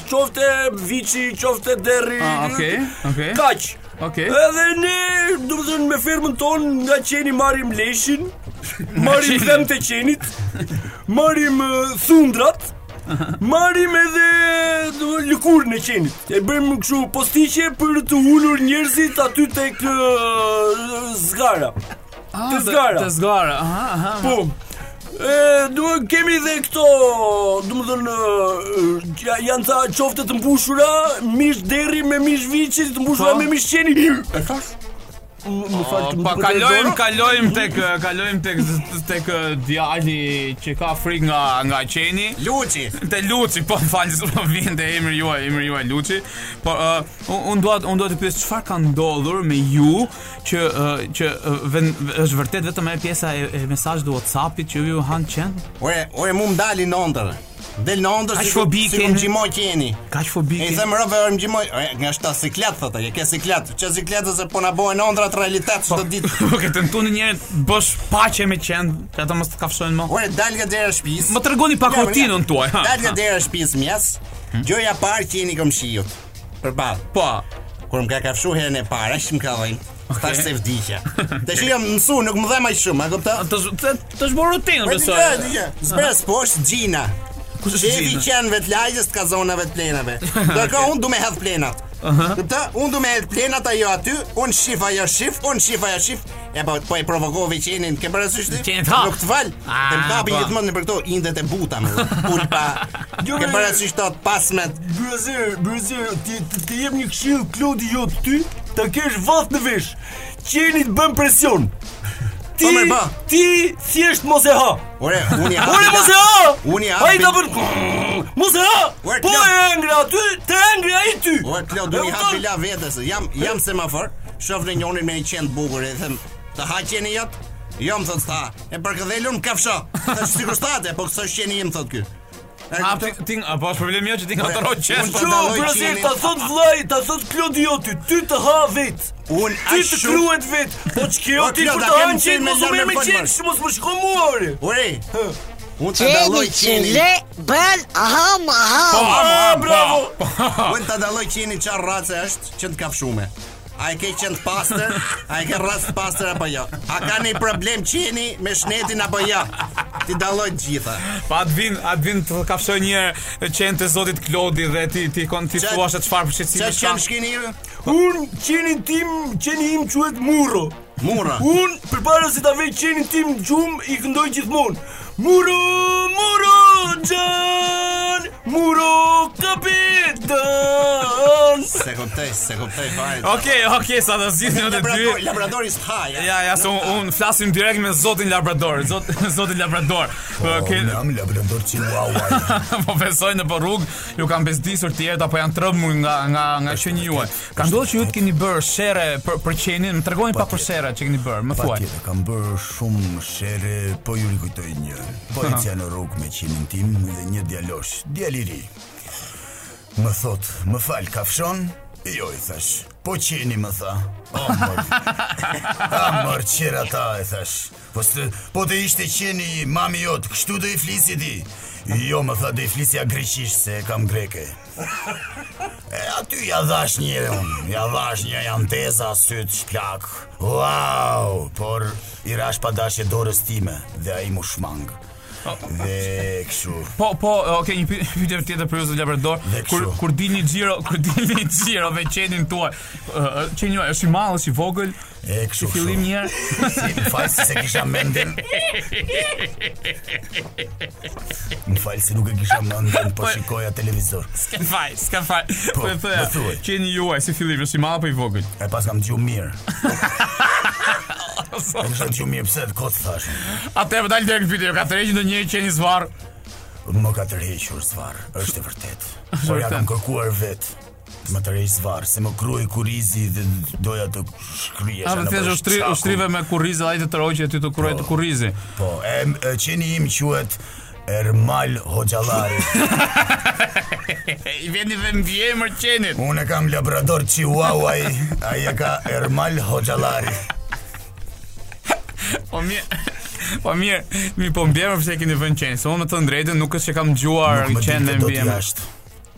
S6: qofte viçi, qofte derri,
S4: Ah, okay, okay.
S6: kaq.
S4: Okej.
S6: Edhe ne, do të thënë me fermën tonë nga qeni marrim leshin, marrim
S4: qenin.
S6: dhem të qenit, marrim eh, thundrat, marrim edhe do të thënë, lëkurën e qenit. E bëjmë kështu postiqe për të ulur njerëzit aty tek eh, zgara.
S4: Ah,
S6: Të
S4: të-
S6: zgara.
S4: Të zgara. Aha, aha.
S6: Po. E, do kemi dhe këto, do të thënë, e, ja- janë ca qofte të mbushura, mish deri me mish viçi, të mbushura
S4: Po.
S6: me mish qeni. E thash? Më fal,
S2: Po,
S6: të më
S4: Pa
S6: duket e
S4: kalojm,
S6: zora.
S4: kalojm Po, tek kalojm tek tek djali që ka frikë nga nga qeni.
S7: Luçi.
S4: Te Luçi, po falni se po vjen te emri juaj, emri juaj Luçi. Po uh, un- un dua un dua të pyes çfarë ka ndodhur me ju që uh, që uh, ven, është vërtet vetëm e pjesa e, e mesazhit të WhatsAppit që ju han qen?
S2: Ore, ore mu më dali në ondër. Del në ondër
S4: Aq
S2: si ku-
S4: fobi
S2: si ku
S4: keni.
S2: më gjimoj qeni.
S4: Kaç
S2: E
S4: fobi
S2: i
S4: ke?
S2: them rëve orë më gjimoj. Ore, nga shta siklet, thëtë, e ke siklet. Që sikletës e po na bojnë ondrat realitet çdo ditë.
S4: Po ke tentuar një herë bësh paqe me qen, që ata mos të kafshojnë më.
S2: Ore, dal nga dera e shtëpisë.
S4: Më tregoni pak
S2: Ja,
S4: rutinën
S2: ja.
S4: tuaj. ha,
S2: Dal nga
S4: ha. Hm?
S2: dera e shtëpisë mjes. Gjoja parë qeni këmshiut. Përballë.
S4: Po.
S2: Kur më ka kafshu herën e parë, aq më ka dhënë. Tash se vdiqja. Tash jam mësu, nuk më dha më shumë, a kupton?
S4: Të z- të të zhbor rutinën
S2: Po
S4: besoj.
S2: dija, dija. Zbres po është Gjina.
S4: Kush është
S2: Shefi
S4: Gjina?
S2: qenëve të lagjes të kazonave të plenave. Dërka unë du me hedh plenat. Kupta? Unë du me hedh plenat ajo aty, unë shif ajo shif, unë shif ajo shif. E po po e provokove qenin, ke parasysh ti?
S4: Qeni t'hap.
S2: Nuk të val.
S4: Ah,
S2: Dhe më kapi
S4: po.
S2: gjithmonë në për këto indet e buta më. Pulpa. Ke parasysh tot pasmet.
S6: Bërëzir, bërëzir, ti ti- ti jep një këshill Klodi jo të ty, ta kesh vath në vesh. Qeni të bën presion. Ti
S2: Po, mirë, ba.
S6: ti thjesht mos e ha.
S2: Ore, unë jam.
S6: Ore mos e ha.
S2: Unë i hapi-
S6: Ai ta bën. Mos e ha.
S2: Ore,
S6: Po
S2: Klod.
S6: e ngre aty, të ngre ai ty.
S2: Ore, Klod,
S6: E
S2: unë i
S6: kupton?
S2: hap bila vetes. Jam jam semafor. Shoh në njonin me një qend bukur e them, "Të ha qeni jot?" Jo, më thot sta. E për këdhelun më kafsho. Tash sikur state, po këso qeni im thot ky. E
S4: A ti
S2: kupton?
S4: ti apo është problemi jo që ti ngatro
S2: Ore,
S4: qen.
S2: unë
S4: po-
S2: që-
S6: Jo,
S2: ndaloj
S6: bërëzir,
S2: qenin.
S6: ta thot vllai, ta thot Klodi jo ty, ty të ha vet.
S2: Unë
S6: Ty
S2: aq
S6: të
S2: shumë.
S6: kruhet vet. Po ç'kjo
S2: Po,
S6: ti
S2: Klod,
S6: për
S2: a
S6: të
S2: kem
S6: hanë
S2: qenë
S6: qenë
S2: me
S6: mos u merr me
S2: zemrën
S6: qenë,
S2: folmër.
S6: mos më shko mua ore.
S2: Ore, unë ta dalloj
S9: Qeni
S2: qenin.
S9: qile bën aham
S2: Po,
S9: aham
S6: Ah, bravo.
S2: Unë ta dalloj qenin çfarë race është që të kafshume. A e ke qenë të pastër? A e ke rrasë të pastër apo jo? A ka një problem qeni me shnetin apo jo? Ti dalloj të gjitha.
S4: Pa atë vin, atë vin të kafshoj një qenë të zotit Klodi dhe ti ti kon ti
S2: Qa-
S4: thua se çfarë
S2: Qa
S4: përshëtimi
S2: qenë shkini ju?
S6: Un qenin tim, qeni im quhet Murro.
S2: Murra.
S6: Un përpara se ta vej qenin tim në gjumë i këndoj gjithmonë. Murro, Murro, Xhan, Murro, kapitan.
S2: Se kuptoj, se kuptoj fare.
S4: Okej, okej, sa të zgjidhni të dy.
S2: Labrador, eh. labradori s'ha, ja.
S4: Ja, ja, se
S2: pra-
S4: unë un flasim direkt me zotin Labrador, zot zotin Labrador. Po, ke
S7: Jam labrador chihuahua.
S4: po besoj në po rrugë, ju kanë bezdisur të tjerët apo janë trembur nga nga nga qeni juaj. Ka ndodhur që ju të keni bërë shere për për qenin, më tregoni pak për shera që keni bërë, më thuaj.
S7: Patjetër, kam bërë shumë shere, po ju rikujtoj një. Po ecja në rrugë me qenin tim dhe një djalosh, djal i ri. Më thot, më fal, kafshon? Jo, i thash. Po qeni më tha. O, mërë, a, mërë, qera ta, e thash. Po, së, po të ishte qeni mami jot, kështu do i flisi ti. Jo, më tha, do i flisja greqisht, se e kam greke. E aty ja dhash një unë, ja dhash një janë teza, sytë, shplak. Wow, por i rash pa dashje dorës time dhe a i mu shmang. Dhe këshu,
S4: Po, po, okay, një py- pyetje tjetër për Josef Labrador.
S7: Dhe
S4: Kur
S7: kështu.
S4: kur dilni xhiro, kur dilni xhiro me qenin tuaj, ë, ë, qeni juaj është i madh, është i vogël?
S7: e këshu.
S4: Që fillim një herë.
S7: Si, më falë se se kisha mendin. Më falë se nuk e kisha mendin, po shikoja televizor.
S4: S'ka faj, s'ka faj. Po e
S7: më thuaj.
S4: thoya, qeni juaj si fillim është i madh apo i vogël?
S7: E pas kam gjumë mirë. E kisha gjumë mirë, pse të kotë thashë.
S4: Atëherë dal direkt video, ka tërheqë ndonjë qeni zvarr.
S7: Më ka tërhequr zvar, është e vërtet. Po ja
S4: vërtet.
S7: kam kërkuar vet. Më tërheq zvar, se më kruaj kurizi dhe doja të shkrihesh.
S4: A do të thësh ushtri, ushtrive me kurriz, ai të tërhoqë aty të kurroj të kurrizi.
S7: Po, e, e qeni im quhet Ermal Hoxhallari.
S4: I vendi dhe ndjemër qenit.
S7: Unë e kam Labrador Chihuahua, ai ai e ka Ermal Hoxhallari.
S4: Po mirë. Po mirë, mi po mbjemër pse e keni vënë qenë. Se unë me të drejtën nuk është që kam dëgjuar
S7: Nuk më
S4: qenë
S7: dilte
S4: dhe
S7: dot
S4: mbjemër.
S7: jashtë.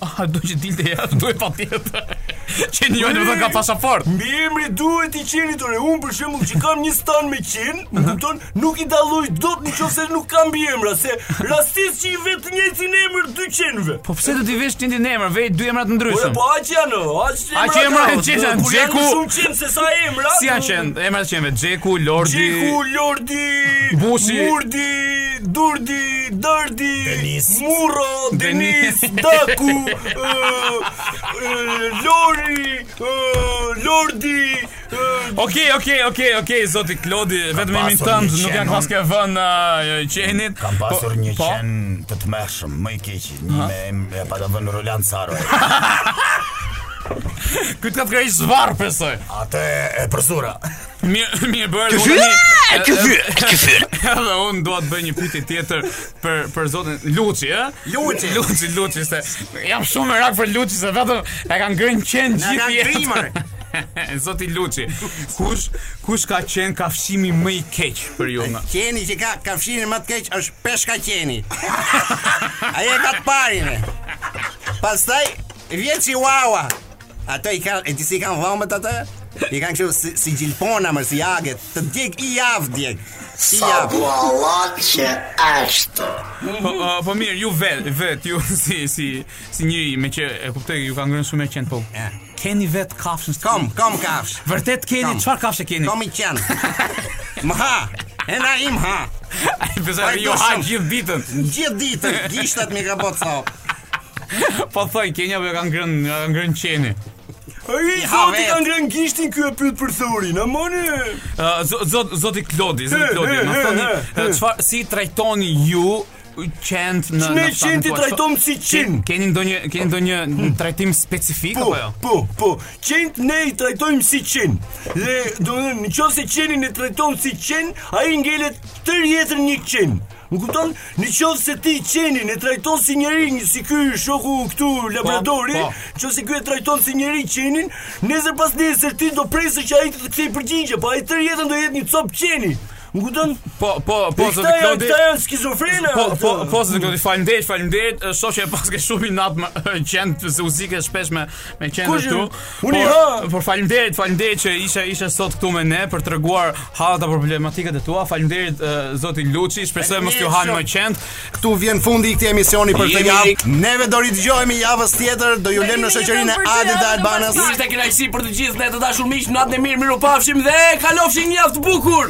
S4: Ah, do që dilte jashtë, duhet patjetër. Që njëri do të ka pasaport.
S6: Mbi emri duhet i qenit ore. Unë për shembull që kam një stan me qen, më kupton, nuk i dalloj dot nëse nuk kam mbi emra, se rastisht që i vet njëjtin emër dy qenve.
S4: Po pse do t'i vesh një emër, vej dy emra të
S6: Ore
S4: ndryshëm.
S6: po aq janë, o,
S4: Aq
S6: aq
S4: emra
S6: kanë,
S4: e qenë janë,
S6: kur janë
S4: Gjeku-
S6: Shumë qenë se sa emra.
S4: Si janë qenë? Emrat që janë vetë po- Xheku, Lordi,
S6: Gjeku, Lordi,
S4: Busi.
S6: Murdi, Durdi, Dërdi,
S7: Denis.
S6: Murro, Denis, Daku, ë, ë, Lori, ë, Lordi, ë,
S4: Okej, okej, okej, okej, zoti Klodi, vetëm emrin
S7: pasur
S4: tënd
S7: një
S4: nuk
S7: qen,
S4: janë
S7: unë.
S4: pas ke vënë uh, qenit.
S7: Kam pasur
S4: Po-
S7: një
S4: po,
S7: qen të tmerrshëm, më i keq, një me em- e pa ta vënë Roland Saro.
S4: Këtë ka të krejtë zvarë, pesoj.
S7: Atë e- e përsura.
S4: Mirë, mirë bërë.
S11: Këfyr?
S4: unë tani-
S11: Këfyr, këfyr.
S4: Edhe unë dua të bëj një pyetje tjetër për për zotin Luçi, ë? Luçi. Luçi, Luçi se jam shumë merak për Luçi se vetëm e kanë ngrënë qen gjithë jetën. Zoti Luçi, kush kush ka qenë kafshimi më i keq për ju? nga-
S2: Qeni që ka kafshinë më të keq është peshka qeni. Ai e ka të parin. e. Pastaj vjen Chihuahua. Ato i kanë, e ti si kanë vëmët atë? I kanë kështu si, si gjilpona më si agët, të djeg i javë djeg. I javë.
S1: Buallat Po, që është
S4: Po, ë, po mirë, ju vet, vet ju si si si njëri me që e kuptoj ju ka ngrënë shumë e qen po. Keni vet kafshën? së-
S2: Kom, kom kafsh.
S4: Vërtet keni
S2: Kam.
S4: çfarë kafshë keni?
S2: Kom i qenë. Më ha. E na im ha.
S4: Ai besoj
S2: Ai,
S4: ju
S2: do
S4: ha
S2: shumë.
S4: gjithë ditën.
S2: Gjithë ditën gishtat mi ka bërë sop.
S4: Po thoj Kenia po e ka ngrënë ka ngrënë qeni.
S6: Ai zoti ka ngrënë gishtin ky e pyet për thorin, a moni?
S4: Ë, zo- zot zoti Klodi, zoti
S6: He,
S4: Klodi,
S6: he,
S4: na
S6: he,
S4: thoni
S6: he,
S4: ë,
S6: he.
S4: çfarë si trajtoni ju qent në
S6: Ne
S4: fshatin
S6: qenti
S4: tuaj?
S6: trajtojmë si qen.
S4: Ke- Keni ndonjë keni ndonjë trajtim specifik
S6: Po,
S4: apo jo?
S6: po, po. Qent ne i trajtojmë si qen. Dhe do të thënë, nëse qenin e trajton si qen, ai ngelet tër jetën një qen. Më kupton? Në qovë se ti qenin e trajton si njeri, një si ky shoku këtu labradori,
S4: po.
S6: që se ky e trajton si njeri qenin, nesër pas nesër ti do presë që ai të të kthej përgjigje, po ai tër jetën do jetë një cop qeni. Më kupton?
S4: Po, po, po
S6: Këta
S4: zoti
S6: janë-
S4: Klodi.
S6: këta janë skizofrena.
S4: Po, po,
S6: këta.
S4: po, zoti Klodi, faleminderit, faleminderit. Ë, Shoh që e paske shumë i natë më qend se uzike shpesh me me qend
S6: Kush
S4: këtu.
S6: ju? Unë i ha.
S4: Por- Por faleminderit, faleminderit që ishe ishe sot këtu me ne për treguar hallat apo problematikat e tua. Faleminderit ë, zoti Luçi, shpresoj mos ju hanë më qend.
S9: Këtu vjen fundi i këtij emisioni për këtë
S4: Jemi-
S9: javë. Neve do ridëgjohemi javës tjetër, do ju lëmë në shoqërinë e Adit dhe Albanës.
S6: Ishte kënaqësi për të gjithë ne të dashur miq, natën e mirë, mirupafshim dhe kalofshin një javë të bukur.